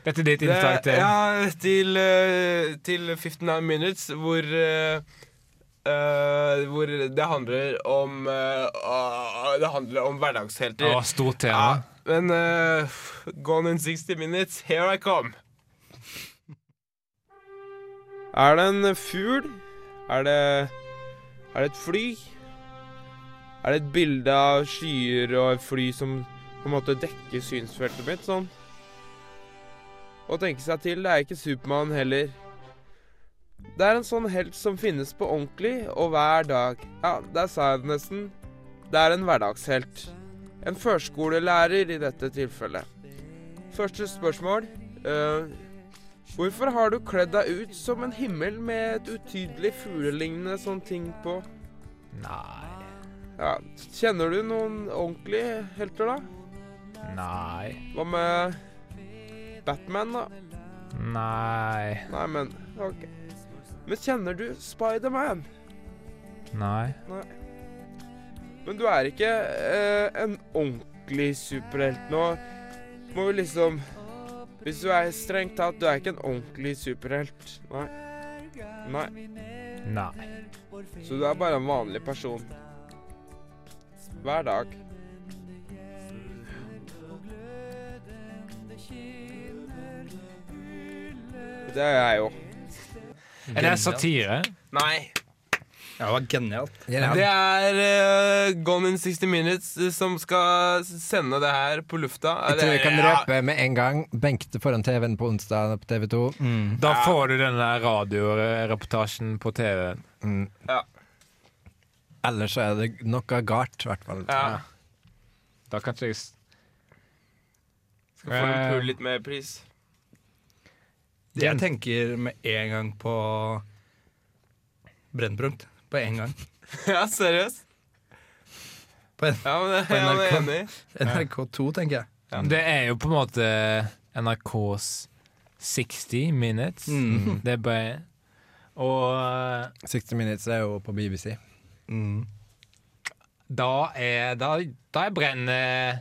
[SPEAKER 1] Dette er ditt
[SPEAKER 2] Det-
[SPEAKER 1] innslag til
[SPEAKER 2] Ja, til, eh, til 59 Minutes, hvor eh, eh, Hvor det handler om eh, ah, Det handler om hverdagshelter.
[SPEAKER 1] Å, stort tema.
[SPEAKER 2] ja, men eh, gone in 60 minutes, here I come. Er det en fugl? Er det Er det et fly? Er det et bilde av skyer og et fly som på en måte dekker synsfeltet mitt, sånn? Å tenke seg til, det er ikke Supermann heller. Det er en sånn helt som finnes på ordentlig og hver dag. Ja, der sa jeg det nesten. Det er en hverdagshelt. En førskolelærer i dette tilfellet. Første spørsmål. eh, hvorfor har du kledd deg ut som en himmel med et utydelig fuglelignende sånn ting på?
[SPEAKER 1] Nei.
[SPEAKER 2] Ja, kjenner du noen ordentlige helter, da?
[SPEAKER 1] Nei.
[SPEAKER 2] Hva med Batman, da?
[SPEAKER 1] Nei.
[SPEAKER 2] Nei, men OK. Men kjenner du Spiderman?
[SPEAKER 1] Nei.
[SPEAKER 2] Men du er ikke eh, en ordentlig superhelt nå. Må jo liksom Hvis du er strengt tatt, du er ikke en ordentlig superhelt. Nei. Nei.
[SPEAKER 1] Nei.
[SPEAKER 2] Så du er bare en vanlig person. Hver dag. Det er jeg jo.
[SPEAKER 1] Er det satire?
[SPEAKER 2] Nei.
[SPEAKER 4] Ja, det var genialt.
[SPEAKER 2] Det er eh, Gone in 60 Minutes eh, som skal sende det her på lufta.
[SPEAKER 3] Jeg tror jeg kan
[SPEAKER 2] Ja.
[SPEAKER 3] røpe med en gang. Benkte foran TV-en på onsdag på TV 2.
[SPEAKER 1] Da får du den der radioreportasjen på TV.
[SPEAKER 3] Ellers så er det noe galt, i hvert fall.
[SPEAKER 2] Ja.
[SPEAKER 1] Da kan ikke jeg s-
[SPEAKER 2] Skal få en
[SPEAKER 1] Eh,
[SPEAKER 2] pull litt mer, please. [laughs]
[SPEAKER 4] Jeg tenker med en gang på Brennpunkt. På en gang.
[SPEAKER 2] Ja, seriøst?
[SPEAKER 4] På en-
[SPEAKER 2] ja, men det,
[SPEAKER 4] på
[SPEAKER 2] ja, det er
[SPEAKER 4] NRK.
[SPEAKER 2] jeg enig i. [laughs]
[SPEAKER 4] NRK2, tenker jeg.
[SPEAKER 1] Det er jo på en måte NRKs 60 minutes. Det er bare Og eh,
[SPEAKER 3] 60 Minutes er jo på BBC.
[SPEAKER 1] da er Da, da er brenn... eh,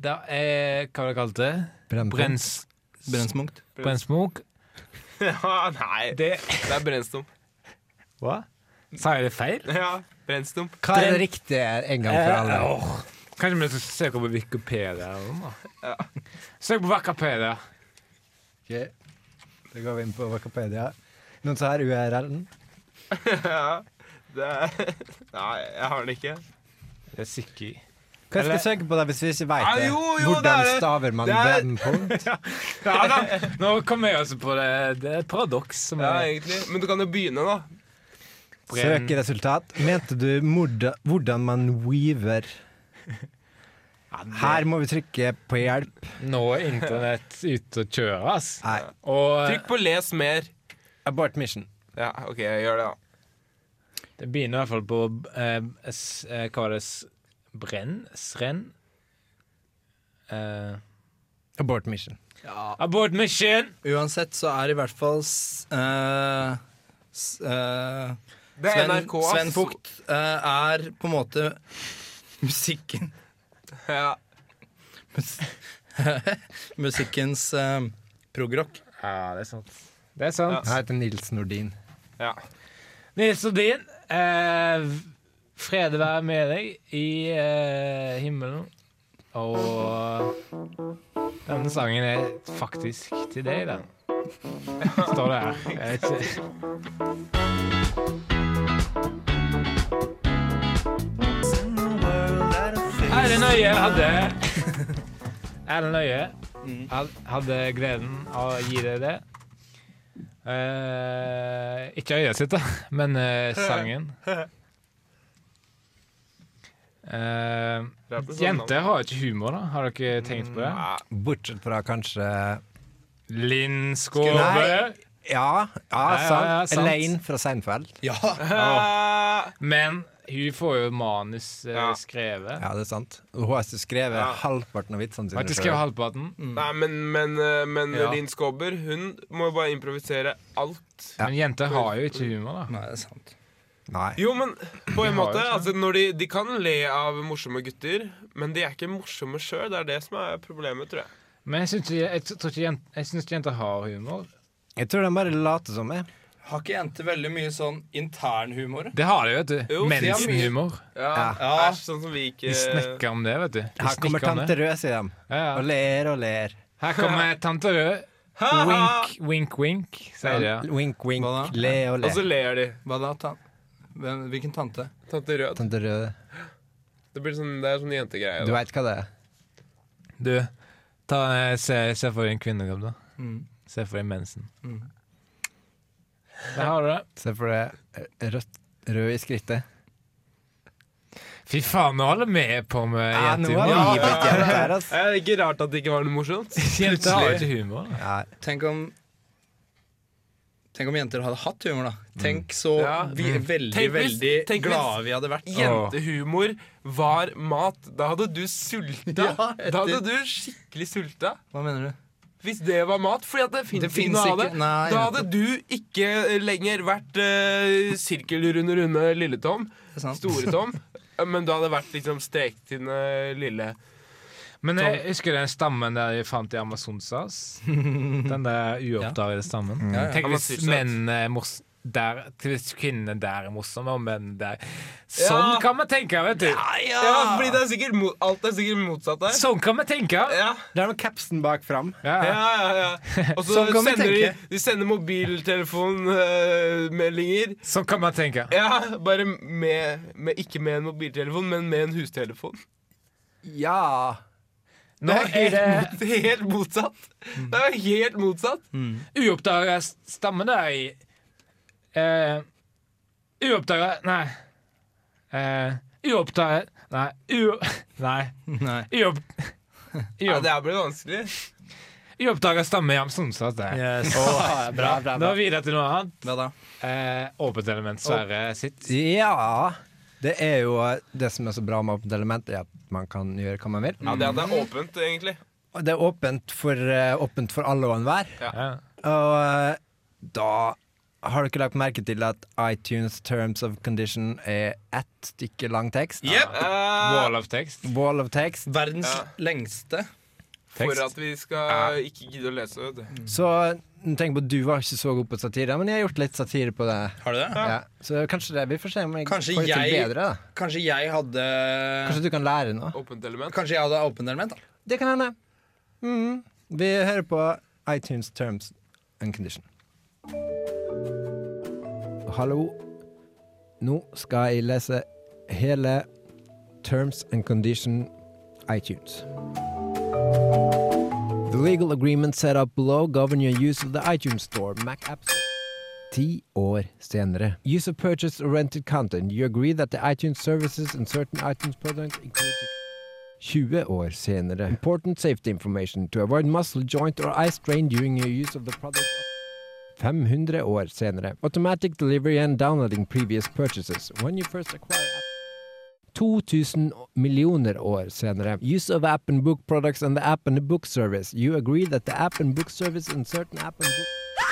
[SPEAKER 1] Da er Hva var det kalt det?
[SPEAKER 3] Brennpunkt.
[SPEAKER 1] Brenns,
[SPEAKER 4] Brennsmunkt.
[SPEAKER 1] brennsmok?
[SPEAKER 2] Ja, nei, det,
[SPEAKER 1] Det
[SPEAKER 2] er brennstump.
[SPEAKER 1] Hva? Sa jeg det feil?
[SPEAKER 2] Ja, brennstump.
[SPEAKER 3] Hva er det riktige en gang for alle?
[SPEAKER 2] Eh,
[SPEAKER 1] Kanskje vi skal søke på Wikipedia eller noe? Søk på Wikipedia.
[SPEAKER 3] Ok, Da går vi inn på Wikipedia. Noen som har URL-en?
[SPEAKER 2] Ja, det er... [laughs] Nei, jeg har den ikke.
[SPEAKER 1] Det er sikkert.
[SPEAKER 3] Hva skal
[SPEAKER 1] Eller-
[SPEAKER 3] jeg søke på da hvis vi ikke veit
[SPEAKER 2] Ja,
[SPEAKER 3] det?
[SPEAKER 2] Ah, jo, jo, det er
[SPEAKER 3] Hvordan
[SPEAKER 2] det.
[SPEAKER 3] staver man
[SPEAKER 2] Det er- [laughs]
[SPEAKER 3] brennpunkt?
[SPEAKER 1] Ja, da. Nå kommer jeg også på det. Det er et paradoks som
[SPEAKER 2] Ja,
[SPEAKER 1] er
[SPEAKER 2] egentlig. Men du kan jo begynne, da.
[SPEAKER 1] Brenn-
[SPEAKER 3] Søk i resultat. Mente du morda- hvordan man
[SPEAKER 2] [laughs]
[SPEAKER 3] weaver? Her må vi trykke på hjelp.
[SPEAKER 1] Nå er internett ute og kjører, ass.
[SPEAKER 3] Nei.
[SPEAKER 1] Og eh,
[SPEAKER 2] Trykk på les mer.
[SPEAKER 3] Abort mission.
[SPEAKER 2] Ja, ok, jeg gjør det, da.
[SPEAKER 1] det begynner i hvert fall på eh, s, eh, Hva var det s, Brenn? Srenn? Eh,
[SPEAKER 3] Abort mission.
[SPEAKER 1] abort mission!
[SPEAKER 4] Uansett så er i hvert fall s- eh, s- eh,
[SPEAKER 2] Det er
[SPEAKER 4] Sven,
[SPEAKER 2] NRK. ass.
[SPEAKER 4] Sven Fugt eh, er på en måte musikken
[SPEAKER 2] Ja.
[SPEAKER 4] Musikkens eh, progrock.
[SPEAKER 1] Ja, det er sant. Det er sant.
[SPEAKER 3] Jeg heter Nils Nordin.
[SPEAKER 2] ja.
[SPEAKER 1] Nils Odin, eh, fred være med deg i eh, himmelen. Og denne sangen er faktisk til deg, den. Står det her. Jeg vet ikke. Erlend Øye hadde Erlend Øye had- hadde gleden av å gi deg det. Eh, ikke øyet sitt, da, men eh, sangen. Eh, jenter har ikke humor, da. Har dere tenkt på det?
[SPEAKER 3] Bortsett fra kanskje
[SPEAKER 1] Linn
[SPEAKER 3] Nei.
[SPEAKER 1] Skåbe.
[SPEAKER 3] Ja, ja,
[SPEAKER 1] Ja, ja,
[SPEAKER 3] sant.
[SPEAKER 1] ja, sant.
[SPEAKER 3] Elaine fra Seinfeld.
[SPEAKER 4] Ja.
[SPEAKER 1] Men hun får jo manus eh,
[SPEAKER 2] Ja.
[SPEAKER 1] skrevet.
[SPEAKER 3] Ja, det er sant. Og Hun har ikke skrevet
[SPEAKER 2] Ja.
[SPEAKER 3] halvparten av
[SPEAKER 1] Har
[SPEAKER 3] vitsene sine.
[SPEAKER 1] ikke
[SPEAKER 3] selv.
[SPEAKER 1] skrevet halvparten,
[SPEAKER 2] Nei, men, men, eh, men
[SPEAKER 4] Ja.
[SPEAKER 2] Linn Skåber, hun må jo bare improvisere alt.
[SPEAKER 1] men jenter har jo ikke humor, da.
[SPEAKER 4] Nei, det er sant.
[SPEAKER 3] Nei.
[SPEAKER 2] Jo, men på en
[SPEAKER 1] har
[SPEAKER 2] måte.
[SPEAKER 1] jo ikke
[SPEAKER 2] Altså, når de, de kan le av morsomme gutter, men de er ikke morsomme sjøl. Det er det som er problemet, tror jeg.
[SPEAKER 1] Men jeg syns ikke, jeg tror ikke jent- jeg syns ikke jenter har humor.
[SPEAKER 3] Jeg tror de bare later som jeg.
[SPEAKER 4] Har ikke jenter veldig mye sånn internhumor?
[SPEAKER 1] Det har de, vet du.
[SPEAKER 2] Jo, de har mye-
[SPEAKER 1] Mensenhumor.
[SPEAKER 2] Ja,
[SPEAKER 4] Ja.
[SPEAKER 2] Æsj, sånn som vi ikke
[SPEAKER 1] De snakker om det, vet du. De
[SPEAKER 3] Her kommer
[SPEAKER 1] snikker om
[SPEAKER 3] tante
[SPEAKER 1] det.
[SPEAKER 3] Rød, sier de.
[SPEAKER 1] Ja, ja.
[SPEAKER 3] Og ler og ler.
[SPEAKER 1] Her kommer tante Rød. Wink, wink, wink, sier de. ja.
[SPEAKER 3] Wink, wink,
[SPEAKER 4] Hva da?
[SPEAKER 3] le og
[SPEAKER 2] Og
[SPEAKER 3] le.
[SPEAKER 2] så ler de.
[SPEAKER 4] Hva da? Ta Hvem, hvilken tante?
[SPEAKER 2] Tante Rød.
[SPEAKER 3] Tante Rød,
[SPEAKER 2] Det, blir sånn, det er sånn jentegreie.
[SPEAKER 3] Sånn du
[SPEAKER 2] da.
[SPEAKER 3] veit hva det er?
[SPEAKER 1] Du, ta, eh, se, se for deg en kvinnekropp, da.
[SPEAKER 4] Mm.
[SPEAKER 1] Se for deg mensen. Der har du det.
[SPEAKER 3] Se for deg eh, rødt, rød i skrittet.
[SPEAKER 1] Fy faen, nå holder vi på med
[SPEAKER 3] Ja, nå
[SPEAKER 1] jentehumor.
[SPEAKER 3] har vi blitt jenter her, altså.
[SPEAKER 2] Er det ikke rart at det ikke var noe morsomt?
[SPEAKER 1] Jenter har ikke humor. da.
[SPEAKER 3] Nei.
[SPEAKER 4] Tenk om Tenk om jenter hadde hatt humor, da. Tenk så
[SPEAKER 2] Ja.
[SPEAKER 4] vi, veldig,
[SPEAKER 2] Tenk hvis-
[SPEAKER 4] veldig
[SPEAKER 2] tenk hvis-
[SPEAKER 4] glade vi hadde vært.
[SPEAKER 2] Jentehumor var mat. Da hadde du sulta.
[SPEAKER 4] Ja, etter-
[SPEAKER 2] Da hadde du skikkelig sulta.
[SPEAKER 4] Hva mener du?
[SPEAKER 2] Hvis det var mat, fordi at det
[SPEAKER 4] Det
[SPEAKER 2] finnes ikke
[SPEAKER 4] fins
[SPEAKER 2] noe av
[SPEAKER 4] ikke
[SPEAKER 2] det.
[SPEAKER 4] Nei,
[SPEAKER 2] Da hadde du ikke lenger vært uh, sirkelrunde runde Lille-Tom,
[SPEAKER 4] det er sant.
[SPEAKER 2] Store-Tom, men du hadde vært liksom strektynne eh, Lille.
[SPEAKER 1] Men jeg husker den stammen der jeg fant i [laughs] Amazonsas. Den der uoppdagede stammen.
[SPEAKER 4] Ja, ja.
[SPEAKER 1] Tenk hvis
[SPEAKER 2] Amazonas.
[SPEAKER 1] mennene er mors- der, hvis kvinnene der er morsomme, og mennene der Sånn
[SPEAKER 2] Ja.
[SPEAKER 1] kan man tenke, vet du!
[SPEAKER 2] Ja, fordi det er sikkert mo- alt er sikkert motsatt der.
[SPEAKER 1] Sånn kan man tenke!
[SPEAKER 2] Ja,
[SPEAKER 3] Det er noe capsen bak fram.
[SPEAKER 1] Ja.
[SPEAKER 2] ja, ja, ja. Og så
[SPEAKER 3] Sånn kan vi
[SPEAKER 2] sender de,
[SPEAKER 3] tenke.
[SPEAKER 2] de sender mobiltelefonmeldinger.
[SPEAKER 1] Sånn kan man tenke.
[SPEAKER 2] ja, bare med, med Ikke med en mobiltelefon, men med en hustelefon.
[SPEAKER 3] Ja.
[SPEAKER 1] Nå er det
[SPEAKER 2] [laughs] Helt motsatt. Det er jo helt motsatt.
[SPEAKER 1] [laughs] uoppdaga stamme der i eh, Uoppdaga Nei. Eh, uoppdaga Nei. U... [laughs] Nei.
[SPEAKER 4] Nei.
[SPEAKER 1] Uopp...
[SPEAKER 2] Ja,
[SPEAKER 1] uopp-
[SPEAKER 2] det her blir vanskelig.
[SPEAKER 1] Uoppdaga stamme i Amsonsas, det.
[SPEAKER 4] Yes.
[SPEAKER 1] Å, bra,
[SPEAKER 3] bra, bra.
[SPEAKER 1] Nå videre til noe annet.
[SPEAKER 4] Hva da?
[SPEAKER 1] Eh, åpent element, Sverre sitt.
[SPEAKER 3] Ja. Det er jo eh, det som er så bra med åpent element, er at man kan gjøre hva man vil.
[SPEAKER 2] Ja, det at det er åpent, egentlig.
[SPEAKER 3] Og det er åpent for, eh, åpent for alle og enhver.
[SPEAKER 1] Ja.
[SPEAKER 3] Og eh, da har du ikke lagt merke til at iTunes Terms of Condition er ett stykke lang tekst?
[SPEAKER 2] Eh,
[SPEAKER 1] Wall of text.
[SPEAKER 3] Wall of text.
[SPEAKER 4] Verdens
[SPEAKER 2] Ja.
[SPEAKER 4] lengste.
[SPEAKER 2] for
[SPEAKER 1] tekst.
[SPEAKER 2] at vi skal ikke gidde å lese, vet du.
[SPEAKER 3] Så tenk på at du var ikke så god på satire, men jeg har gjort litt satire på det.
[SPEAKER 4] Har du det?
[SPEAKER 3] Ja. Så kanskje det, vi får se om jeg
[SPEAKER 4] Kanskje
[SPEAKER 3] får det til
[SPEAKER 4] jeg-
[SPEAKER 3] bedre. da
[SPEAKER 4] Kanskje jeg hadde Kanskje,
[SPEAKER 3] Kanskje du kan lære noe?
[SPEAKER 2] Åpent element.
[SPEAKER 4] jeg hadde åpent element, da.
[SPEAKER 3] Det kan hende. Mhm. Vi hører på iTunes Terms and Condition. Hallo. Nå skal jeg lese hele Terms and Condition iTunes. The legal agreement set up below govern your use of the iTunes store, Mac apps. Ti år senere. User purchased or rented content. You agree that the iTunes services and certain iTunes products include 20 år senere. Important safety information to avoid muscle joint or eye strain during your use of the product. 500 år senere. Automatic delivery and downloading previous purchases. When you first acquire app. 2000 millioner år senere. Use of app and book products and the app and the book service. You agree that the app and book service and certain app and book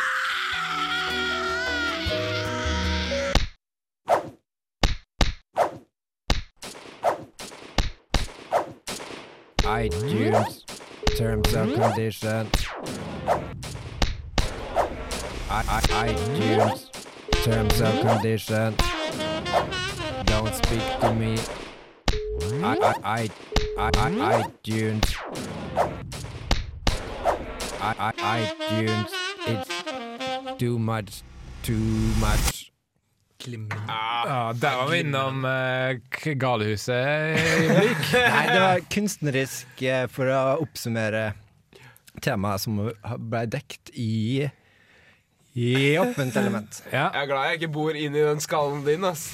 [SPEAKER 3] iTunes terms and conditions. I- I- iTunes terms and condition. Don't speak to me. I I I I, I iTunes. I, I iTunes. It's too much. Too much.
[SPEAKER 1] Ja, der var vi innom eh, k- [laughs] galehuset.
[SPEAKER 7] Nei, det var kunstnerisk eh, for å oppsummere temaet som ble dekt i i åpent element.
[SPEAKER 1] Ja.
[SPEAKER 2] Jeg er glad jeg ikke bor inni den skallen din, ass.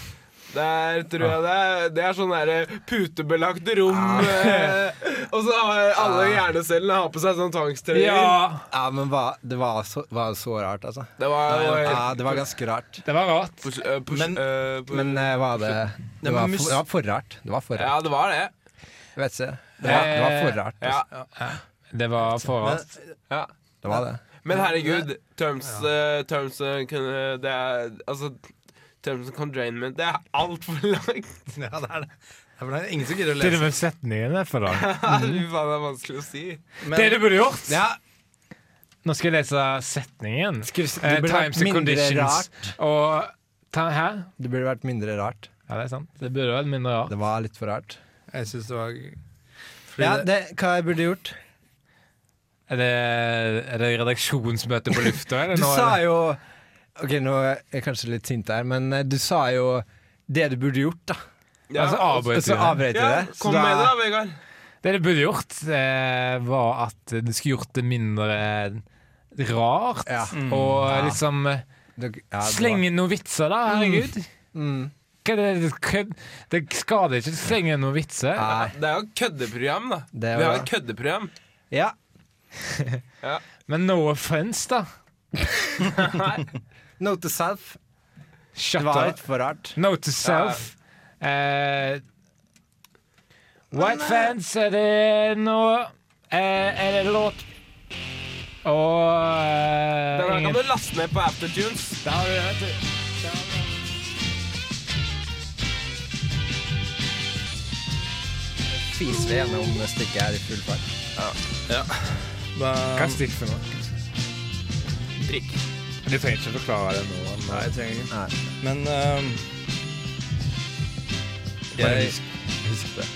[SPEAKER 2] Der tror jeg det er, det er sånn derre putebelagt rom eh, Og så har alle hjernecellene har på seg sånn tvangstrøyer.
[SPEAKER 1] ja.
[SPEAKER 7] Ja, men hva, det var så, var så rart, altså.
[SPEAKER 2] Det var jo helt
[SPEAKER 7] Ja, det var ganske rart.
[SPEAKER 1] Det var rart.
[SPEAKER 2] Pus- eh, pus-
[SPEAKER 4] Men-
[SPEAKER 2] eh, pu-
[SPEAKER 7] Men eh, var det
[SPEAKER 4] Ja,
[SPEAKER 7] det var,
[SPEAKER 4] men mus-
[SPEAKER 7] for, det var for rart. Det var for rart.
[SPEAKER 2] Ja, det var det.
[SPEAKER 7] Jeg Vet ikke. Det var, det var for rart.
[SPEAKER 2] Ja.
[SPEAKER 7] Altså.
[SPEAKER 1] Det var for rart.
[SPEAKER 2] ja.
[SPEAKER 7] Det var det.
[SPEAKER 2] Men herregud, terms, eh, terms eh, kan, eh, Det er altså Terms and containment, det er altfor langt. [laughs]
[SPEAKER 4] Ja, det er det. Det er for det er ingen som gidder å
[SPEAKER 1] Til og
[SPEAKER 4] lese.
[SPEAKER 1] med setningen er for lang.
[SPEAKER 2] Fy faen, det er vanskelig å si.
[SPEAKER 1] Det
[SPEAKER 4] Men,
[SPEAKER 1] du burde gjort!
[SPEAKER 7] Ja,
[SPEAKER 1] Nå skal jeg lese setningen.
[SPEAKER 7] Skulle- det
[SPEAKER 1] Eh,
[SPEAKER 7] burde vært
[SPEAKER 1] times and
[SPEAKER 7] mindre
[SPEAKER 1] conditions.
[SPEAKER 7] rart.
[SPEAKER 1] Og ta her.
[SPEAKER 7] det burde vært mindre rart.
[SPEAKER 1] Ja, det er sant. Det burde vært mindre rart.
[SPEAKER 7] Det var litt for rart.
[SPEAKER 4] jeg syns det var fordi
[SPEAKER 7] Ja,
[SPEAKER 4] det-
[SPEAKER 7] det, hva jeg burde gjort?
[SPEAKER 1] Er det, er det redaksjonsmøte på lufta, eller?
[SPEAKER 7] Du
[SPEAKER 1] nå,
[SPEAKER 7] sa
[SPEAKER 1] eller?
[SPEAKER 7] jo Ok, nå er jeg kanskje litt sint her, men eh, du sa jo det du burde gjort, da.
[SPEAKER 2] Ja.
[SPEAKER 1] Altså, avbryter
[SPEAKER 7] Og så
[SPEAKER 1] du.
[SPEAKER 7] avbrøt jeg
[SPEAKER 2] Ja,
[SPEAKER 7] det. Så
[SPEAKER 2] kom med det,
[SPEAKER 7] da,
[SPEAKER 2] da, Vegard.
[SPEAKER 1] Det du burde gjort, eh, var at du skulle gjort det mindre rart. Mm.
[SPEAKER 7] Ja. Mm.
[SPEAKER 1] Og
[SPEAKER 7] Ja.
[SPEAKER 1] liksom eh,
[SPEAKER 7] det- ja, det var-
[SPEAKER 1] slenge inn noen vitser, da. Herregud.
[SPEAKER 7] Mm.
[SPEAKER 1] Hva er det, hva- det skader ikke å slenge inn noen vitser.
[SPEAKER 7] Nei.
[SPEAKER 2] Det er jo et køddeprogram, da.
[SPEAKER 7] Det er
[SPEAKER 2] Vi har
[SPEAKER 7] bra.
[SPEAKER 2] et køddeprogram.
[SPEAKER 7] Ja.
[SPEAKER 1] Men no offense, da.
[SPEAKER 7] Note to self.
[SPEAKER 1] Shut
[SPEAKER 7] Det var
[SPEAKER 1] up.
[SPEAKER 7] litt for rart.
[SPEAKER 1] Note to self. Eh,
[SPEAKER 7] eh,
[SPEAKER 1] White Fans er det nå eh, Er det låt Og eh,
[SPEAKER 2] Den her
[SPEAKER 1] ingen-
[SPEAKER 2] kan du laste ned på Aftertunes.
[SPEAKER 1] Det har du, vet du.
[SPEAKER 7] Fiser vi gjennom stykket her i full fart.
[SPEAKER 4] da-
[SPEAKER 1] Hva er stikk for noe?
[SPEAKER 2] Drikk.
[SPEAKER 1] Du trenger ikke forklare det nå.
[SPEAKER 4] Nei, jeg trenger ikke.
[SPEAKER 7] Nei.
[SPEAKER 4] Men ehm, jeg husker det.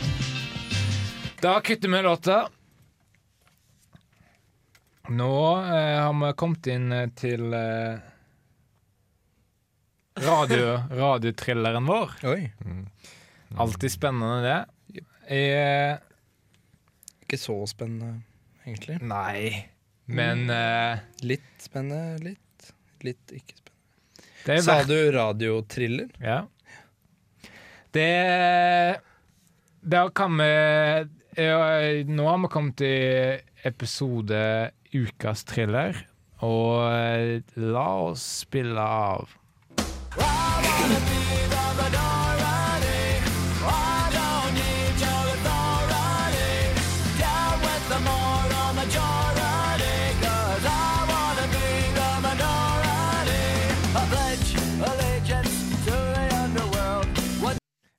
[SPEAKER 1] Da kutter vi låta. Nå eh, har vi kommet inn eh, til eh, [laughs] radio, radiotrilleren vår.
[SPEAKER 4] Oi.
[SPEAKER 1] Alltid spennende, det. Eh,
[SPEAKER 4] Ikke så spennende, egentlig.
[SPEAKER 1] nei, men eh,
[SPEAKER 4] Litt spennende, litt. Litt ikke spennende.
[SPEAKER 1] det er
[SPEAKER 4] Sa
[SPEAKER 1] verdt-
[SPEAKER 4] du radiotriller?
[SPEAKER 1] Ja. Det Da kan vi ja, Nå har vi kommet til episode Ukas thriller, og eh, la oss spille av.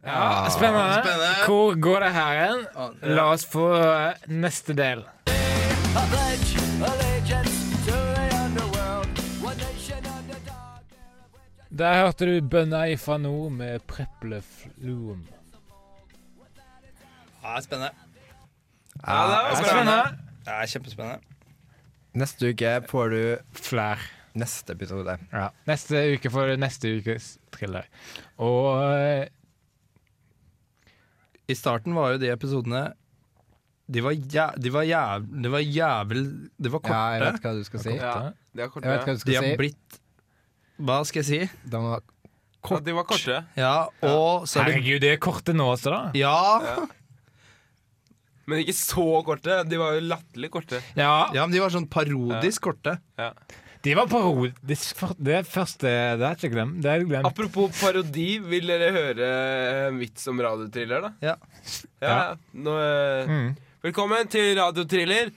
[SPEAKER 1] Ja, spennende.
[SPEAKER 4] Spennende.
[SPEAKER 1] Hvor går det her hen? La oss få eh, neste del. Der hørte du bønna ifra nord med preplefluum.
[SPEAKER 4] Ja, spennende.
[SPEAKER 2] Ja, det var spennende.
[SPEAKER 4] Ja, kjempespennende.
[SPEAKER 7] Neste uke får du
[SPEAKER 1] Flær.
[SPEAKER 7] neste episode.
[SPEAKER 1] Ja. Neste uke får du neste ukes thriller. Og eh,
[SPEAKER 4] I starten var jo de episodene De var jæv... De var jæv... Det var jævel... De var korte.
[SPEAKER 7] Ja, jeg vet hva du skal si.
[SPEAKER 2] Ja,
[SPEAKER 1] Korte.
[SPEAKER 2] de er
[SPEAKER 7] Jeg vet hva
[SPEAKER 2] korte.
[SPEAKER 7] du
[SPEAKER 4] de har
[SPEAKER 7] skal si.
[SPEAKER 4] blitt Hva skal jeg si?
[SPEAKER 7] De var
[SPEAKER 2] Ja, de var korte.
[SPEAKER 4] Ja, og så er det
[SPEAKER 1] Herregud, det er kortet nå også, da.
[SPEAKER 4] ja.
[SPEAKER 2] Men ikke så korte. De var jo latterlig korte.
[SPEAKER 1] Ja,
[SPEAKER 4] ja, men de var sånn parodisk korte.
[SPEAKER 1] De var parodisk. for- Det første Det har jeg ikke glemt. Det har jeg glemt.
[SPEAKER 2] Apropos parodi, vil dere høre en vits om radiotriller, da?
[SPEAKER 4] Ja.
[SPEAKER 2] Ja, nå, eh,
[SPEAKER 1] Mm.
[SPEAKER 2] Velkommen til radiotriller.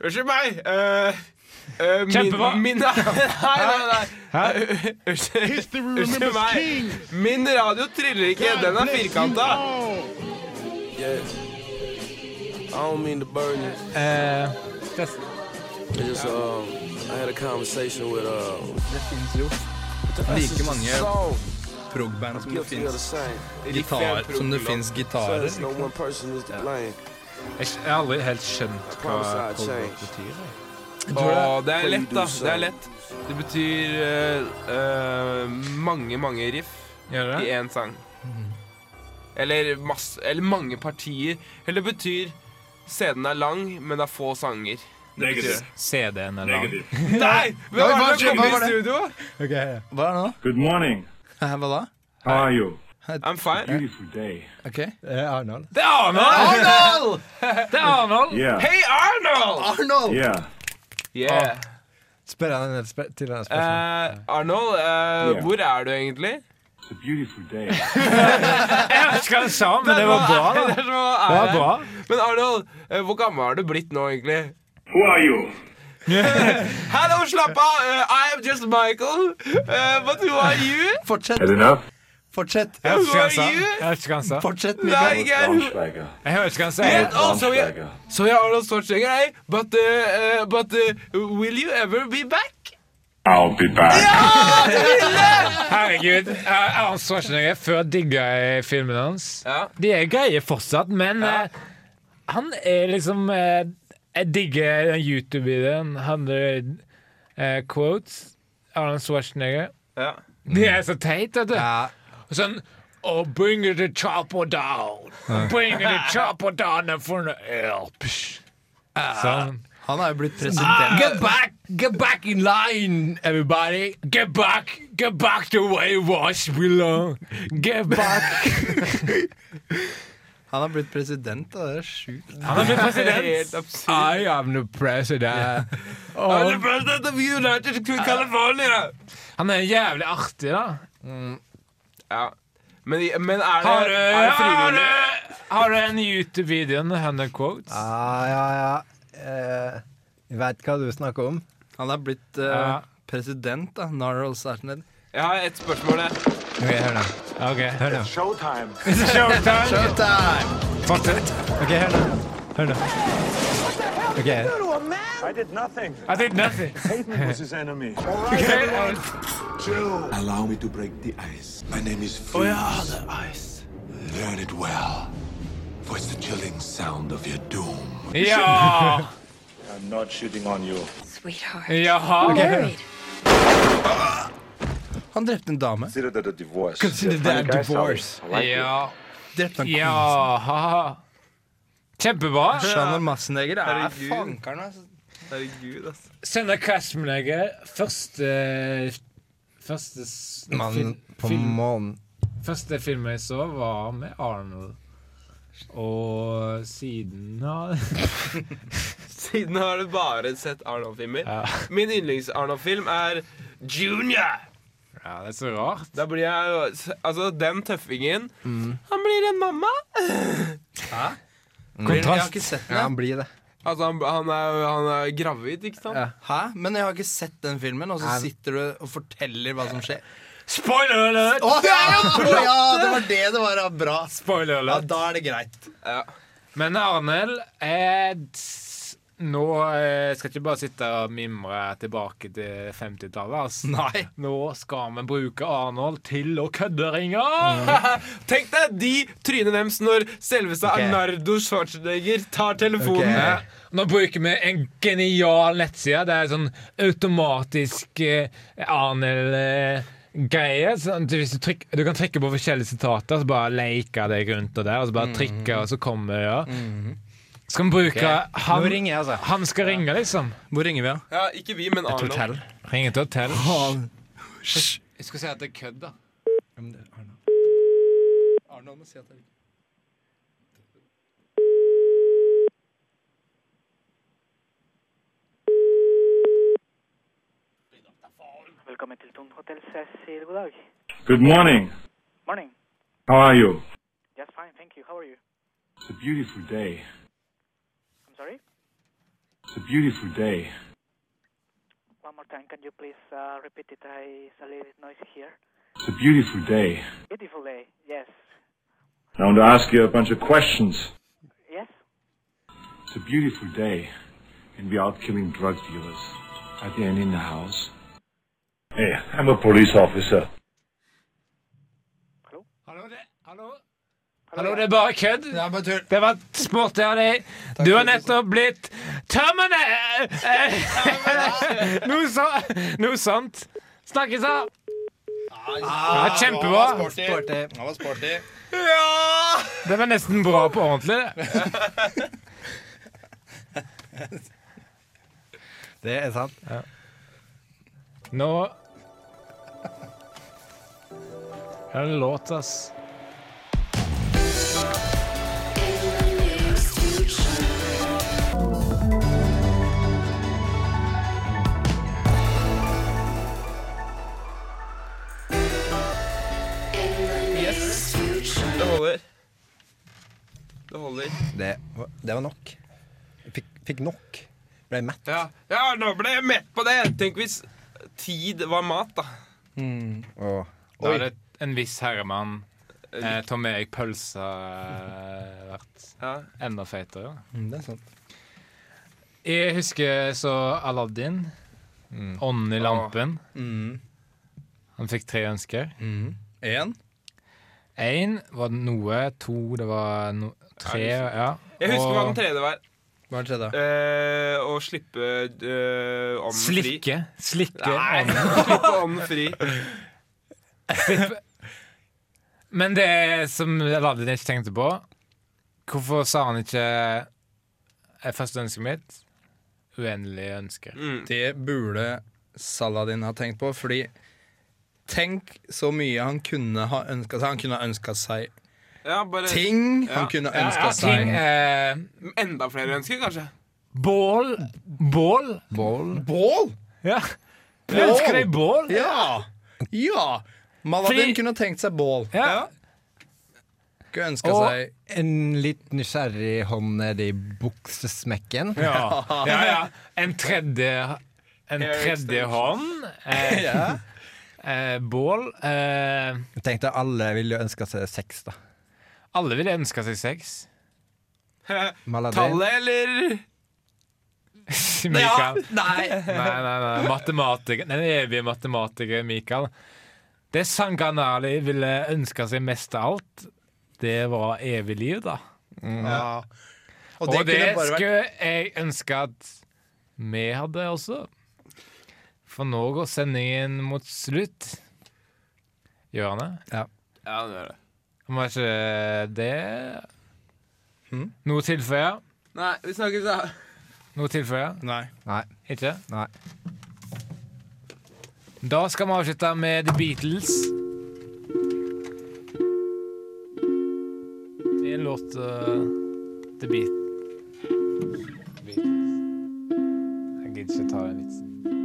[SPEAKER 2] Unnskyld meg. eh, eh, min-
[SPEAKER 1] Kjempebra.
[SPEAKER 2] Min, [laughs] nei, nei, nei.
[SPEAKER 1] Hæ?
[SPEAKER 2] Unnskyld unnskyld meg. Min radio triller ikke. Den er firkanta.
[SPEAKER 8] I don't mean to burden you.
[SPEAKER 1] Eh, det-
[SPEAKER 8] It's just um, I had a conversation with uh,
[SPEAKER 4] like mange
[SPEAKER 8] Song.
[SPEAKER 4] progband som det
[SPEAKER 8] Guilty of the
[SPEAKER 4] fins
[SPEAKER 8] same.
[SPEAKER 4] gitar, som det finnes gitarer.
[SPEAKER 8] Says no one person is to blame.
[SPEAKER 1] Jeg har aldri helt skjønt hva
[SPEAKER 8] Promise I'll
[SPEAKER 1] coldrock
[SPEAKER 8] change.
[SPEAKER 1] betyr. jeg.
[SPEAKER 2] Åh, det er
[SPEAKER 8] Fordi
[SPEAKER 2] lett,
[SPEAKER 8] du
[SPEAKER 2] da.
[SPEAKER 8] sa-
[SPEAKER 2] Det er lett. Det betyr eh, eh, mange, mange riff
[SPEAKER 1] Gjør det?
[SPEAKER 2] i én sang. Eller, masse, eller mange partier. Eller det betyr scenen er lang, men det er få sanger.
[SPEAKER 9] Negative.
[SPEAKER 1] CD-en er lang.
[SPEAKER 9] Negative.
[SPEAKER 2] Nei! Hvem
[SPEAKER 4] Oi, hva
[SPEAKER 2] er det som kommer
[SPEAKER 4] skjedde? Hva var
[SPEAKER 2] i
[SPEAKER 4] det?
[SPEAKER 2] studio?
[SPEAKER 4] Hva er det nå?
[SPEAKER 9] Good morning.
[SPEAKER 4] Hæ, Hva da?
[SPEAKER 9] How are you?
[SPEAKER 2] I'm fine.
[SPEAKER 9] Beautiful day.
[SPEAKER 4] Ok.
[SPEAKER 7] Arnold.
[SPEAKER 1] Det er Arnold!
[SPEAKER 4] Arnold!
[SPEAKER 1] Det er Arnold!
[SPEAKER 9] Yeah.
[SPEAKER 2] Hey, Arnold!
[SPEAKER 4] Arnold!
[SPEAKER 9] Yeah.
[SPEAKER 2] Yeah.
[SPEAKER 7] Spør han en sp til en spørsmål.
[SPEAKER 2] Eh, Arnold, eh, hvor er du egentlig?
[SPEAKER 9] It's a beautiful [laughs] day.
[SPEAKER 1] Jeg vet ikke hva du sa, men det var bra. da.
[SPEAKER 2] [laughs] Det er så-
[SPEAKER 1] Det var bra.
[SPEAKER 2] Men Arnold, eh, hvor gammel har du blitt nå, egentlig?
[SPEAKER 9] Who are you?
[SPEAKER 2] Hallo, slapp av! eh, I am just Michael. Uh, but who are you?
[SPEAKER 4] Fortsett,
[SPEAKER 9] Had enough?
[SPEAKER 4] fortsett,
[SPEAKER 1] Jeg vet ikke hva han sa.
[SPEAKER 2] Who are you?
[SPEAKER 1] Jeg vet ikke hva han sa.
[SPEAKER 4] fortsett,
[SPEAKER 2] Nei,
[SPEAKER 4] Mikael.
[SPEAKER 2] ikke jeg.
[SPEAKER 9] Braunschweiger.
[SPEAKER 1] Jeg hører ikke hva han
[SPEAKER 2] Yes,
[SPEAKER 1] sier.
[SPEAKER 9] Oh,
[SPEAKER 2] also, yeah. So yeah, Arnold Schwarzenegger, eh? But, uh, uh, but uh, will you ever be back?
[SPEAKER 9] I'll be back.
[SPEAKER 1] Herregud. eh, Arnold Schwarzenegger, før digga jeg filmen hans.
[SPEAKER 2] Ja.
[SPEAKER 1] De er greie fortsatt, men
[SPEAKER 2] Ja.
[SPEAKER 1] eh, han er liksom eh, Jeg digger den YouTube-videoen. Han eh, eh, quotes. Arnold Schwarzenegger.
[SPEAKER 2] ja.
[SPEAKER 1] De er så teit, vet du.
[SPEAKER 4] Ja.
[SPEAKER 1] Og Sånn Oh, bring the chopper down. Bring the chopper down and for the help. Sånn.
[SPEAKER 4] Han er jo blitt president.
[SPEAKER 1] Get back, get back in line, everybody. Get back, get back the way it was below. Get back. [laughs]
[SPEAKER 4] Han er blitt president, da. Det er sjukt.
[SPEAKER 1] Han er blitt
[SPEAKER 2] Helt absurd.
[SPEAKER 1] I am the president.
[SPEAKER 2] I'm
[SPEAKER 1] Og
[SPEAKER 2] the president of United California.
[SPEAKER 1] han er jævlig artig, da.
[SPEAKER 2] Ja. Men, men er det,
[SPEAKER 1] Har du,
[SPEAKER 2] er det
[SPEAKER 1] har
[SPEAKER 2] frivillig?
[SPEAKER 1] du, har du en YouTube-video med Hunter Quotes?
[SPEAKER 7] Ah, ja, ja. Eh, jeg veit hva du snakker om.
[SPEAKER 4] Han er blitt eh,
[SPEAKER 1] Ja.
[SPEAKER 4] president, da. Narrow Sartned.
[SPEAKER 2] Jeg har et spørsmål, jeg.
[SPEAKER 7] Ok, hør nå.
[SPEAKER 1] Ok, hør nå.
[SPEAKER 9] Showtime.
[SPEAKER 1] [laughs] It's showtime. [laughs]
[SPEAKER 4] Showtime!
[SPEAKER 1] Fortsett.
[SPEAKER 7] Ok, hør nå. Hør nå. Ok,
[SPEAKER 9] I did [laughs] nothing.
[SPEAKER 1] I did nothing. [laughs]
[SPEAKER 9] Satan was his enemy.
[SPEAKER 10] Allow me to break the ice. My name is Freeze. the ice. Learn it well. For it's the chilling sound of your doom.
[SPEAKER 1] Ja!
[SPEAKER 9] I'm not shitting on you.
[SPEAKER 11] Sweetheart.
[SPEAKER 1] Jaha.
[SPEAKER 11] Worried.
[SPEAKER 4] Han drepte en dame.
[SPEAKER 9] Consider that a divorce.
[SPEAKER 4] Consider that a divorce.
[SPEAKER 1] Ja.
[SPEAKER 4] Drepte en kone.
[SPEAKER 1] Jaha. Kjempebra.
[SPEAKER 4] Shannon Massenegger er
[SPEAKER 2] Herregud.
[SPEAKER 4] fankeren, altså.
[SPEAKER 2] Herregud, altså.
[SPEAKER 1] Søndag Cashmanager, første Første s-
[SPEAKER 7] Mannen
[SPEAKER 1] fil-
[SPEAKER 7] på
[SPEAKER 1] film,
[SPEAKER 7] månen.
[SPEAKER 1] Første film jeg så, var med Arnold. Og siden har [laughs]
[SPEAKER 2] Siden har du bare sett Arnold-filmer.
[SPEAKER 1] Ja.
[SPEAKER 2] Min yndlings-Arnold-film er Junior.
[SPEAKER 1] Ja, det er så rart.
[SPEAKER 2] Da blir jeg jo Altså, den tøffingen
[SPEAKER 1] Mm.
[SPEAKER 2] Han blir en mamma.
[SPEAKER 4] Jeg har ikke sett
[SPEAKER 7] Ja, han
[SPEAKER 4] den.
[SPEAKER 7] blir det.
[SPEAKER 2] Altså, han, han, er, han er gravid, ikke sant?
[SPEAKER 7] Ja.
[SPEAKER 4] Hæ? Men jeg har ikke sett den filmen, og så sitter du og forteller hva som skjer.
[SPEAKER 1] Spoiler alert!
[SPEAKER 4] Å ja, ja, det var det det var. ja, Bra.
[SPEAKER 1] Spoiler
[SPEAKER 4] Ja,
[SPEAKER 1] alert.
[SPEAKER 4] da er det greit.
[SPEAKER 1] Men Arnel eh, s- Nå eh, skal ikke bare sitte og mimre tilbake til 50-tallet. Altså.
[SPEAKER 4] Nei.
[SPEAKER 1] Nå skal vi bruke Arnold til å kødderinge!
[SPEAKER 4] Mhm.
[SPEAKER 2] Tenk deg de trynene deres når selveste
[SPEAKER 4] Ok.
[SPEAKER 2] Arnardo Schwarzenegger tar telefonen.
[SPEAKER 1] Ja. Nå bruker vi en genial nettside. Det er sånn automatisk eh, Arnel-greie. Sånn, at hvis du, tryk, du kan trykke på forskjellige sitater, så bare leker deg rundt og der, og så
[SPEAKER 2] Mm.
[SPEAKER 1] bare trykker, og så kommer det. Ja. Skal vi bruke han,
[SPEAKER 7] Nå ringer jeg, altså.
[SPEAKER 1] han skal ringe, liksom.
[SPEAKER 4] Hvor ringer vi, da?
[SPEAKER 2] Ja, ikke vi, men Arnold.
[SPEAKER 1] Ringe til hotell.
[SPEAKER 4] Arnold.
[SPEAKER 1] Jeg skal si at det er kødd, da.
[SPEAKER 4] Arnold må si at det er
[SPEAKER 12] Velkommen til Tun Hotel Cecil. God dag.
[SPEAKER 9] Good morning.
[SPEAKER 12] Morning.
[SPEAKER 9] How are you?
[SPEAKER 12] Just fine, thank you. How are you?
[SPEAKER 9] It's a beautiful day.
[SPEAKER 12] I'm sorry.
[SPEAKER 9] It's a beautiful day.
[SPEAKER 12] One more time, can you please uh, repeat it? I, it's a little bit noisy here.
[SPEAKER 9] It's a beautiful day.
[SPEAKER 12] Beautiful day. Yes.
[SPEAKER 9] I want to ask you a bunch of questions.
[SPEAKER 12] Yes.
[SPEAKER 9] It's a beautiful day, and we're out killing drug dealers. Are there any in the house? Hey, I'm a police officer.
[SPEAKER 1] Hallo, det, hallo. Hallo, det er bare kødd. Det, var sport, det. Hadde. Du har nettopp blitt tømmende! Noe, så, noe sånt. Snakkes, da. Ja, kjempebra.
[SPEAKER 11] Han var sporty.
[SPEAKER 1] Det var nesten bra på ordentlig, det.
[SPEAKER 7] Det er sant.
[SPEAKER 1] Nå [laughs] Her er det låt, ass.
[SPEAKER 11] Yes. Det holder. Det holder.
[SPEAKER 7] Det, var- det var nok. Jeg fikk, fikk nok. Ble mett.
[SPEAKER 2] Ja. ja, nå ble jeg mett på det. Tenk hvis tid var mat, da.
[SPEAKER 7] Åh.
[SPEAKER 1] Da
[SPEAKER 2] Oi.
[SPEAKER 1] er det en viss herremann, eh, Tom Erik Pølsa, eh, vært enda feitere.
[SPEAKER 4] Mm, det er sant.
[SPEAKER 1] Jeg husker så Aladdin.
[SPEAKER 2] Mm.
[SPEAKER 1] Ånden i lampen. Han fikk tre ønsker.
[SPEAKER 4] Én?
[SPEAKER 1] Én var noe, to det var no, tre
[SPEAKER 2] Ja,
[SPEAKER 1] ja.
[SPEAKER 2] Jeg husker hva
[SPEAKER 1] Og
[SPEAKER 2] den tredje var.
[SPEAKER 4] Hva er det tredje?
[SPEAKER 2] Eh, å slippe eh, ånden fri. [laughs]
[SPEAKER 1] Slikke. Slikke
[SPEAKER 2] Nei,
[SPEAKER 1] ånden.
[SPEAKER 2] slippe ånden [laughs] fri.
[SPEAKER 1] Men det som Aladdin ikke tenkte på Hvorfor sa han ikke eh, første ønsket mitt? Uendelige ønsker.
[SPEAKER 2] Mm.
[SPEAKER 4] Mm. Det burde Saladin ha tenkt på, fordi Tenk så mye han kunne ha ønska seg. Han kunne ha ønska seg
[SPEAKER 2] Ja, bare,
[SPEAKER 4] ting. Han
[SPEAKER 2] Ja.
[SPEAKER 4] kunne ha
[SPEAKER 1] Ja,
[SPEAKER 4] ønska
[SPEAKER 1] ja, ting,
[SPEAKER 4] seg
[SPEAKER 1] eh,
[SPEAKER 2] Enda flere ønsker, kanskje.
[SPEAKER 1] bål. Bål?
[SPEAKER 7] Bål.
[SPEAKER 4] Bål!
[SPEAKER 1] Ja. Jeg ønsker deg bål.
[SPEAKER 4] Ja! Ja! Maladin
[SPEAKER 1] Fordi-
[SPEAKER 4] kunne tenkt seg bål.
[SPEAKER 1] Ja.
[SPEAKER 4] Kunne ønska
[SPEAKER 7] Og
[SPEAKER 4] seg
[SPEAKER 7] en litt nysgjerrig hånd nedi buksesmekken.
[SPEAKER 1] Ja, ja, ja. En tredje En
[SPEAKER 2] Eric
[SPEAKER 1] tredje
[SPEAKER 2] Sturges.
[SPEAKER 1] hånd. Eh, eh, bål. Eh,
[SPEAKER 7] Jeg tenkte alle ville ønska seg sex, da.
[SPEAKER 1] alle ville ønska seg [laughs] sex.
[SPEAKER 7] Maladin.
[SPEAKER 2] Tallet, eller?
[SPEAKER 1] Mikael.
[SPEAKER 4] Nei!
[SPEAKER 1] Nei, nei, nei. Matematiker. Den evige matematiker Mikael. Det Sanganali ville ønska seg mest av alt, det var evig liv, da. [laughs]
[SPEAKER 4] Ja.
[SPEAKER 1] Og det, skulle jeg ønske at vi hadde også. For nå går sendingen mot slutt. Gjør han det?
[SPEAKER 2] Ja, det gjør det.
[SPEAKER 1] Om det ikke det Mm. Noe tilføye?
[SPEAKER 2] Nei, vi snakkes, da.
[SPEAKER 1] Noe tilføye?
[SPEAKER 4] Nei.
[SPEAKER 7] Nei.
[SPEAKER 1] Ikke?
[SPEAKER 7] Nei.
[SPEAKER 1] Da skal vi avslutte med The Beatles. Det er en låt eh, The Beat- Beatles. Jeg gidder ikke ta den vitsen.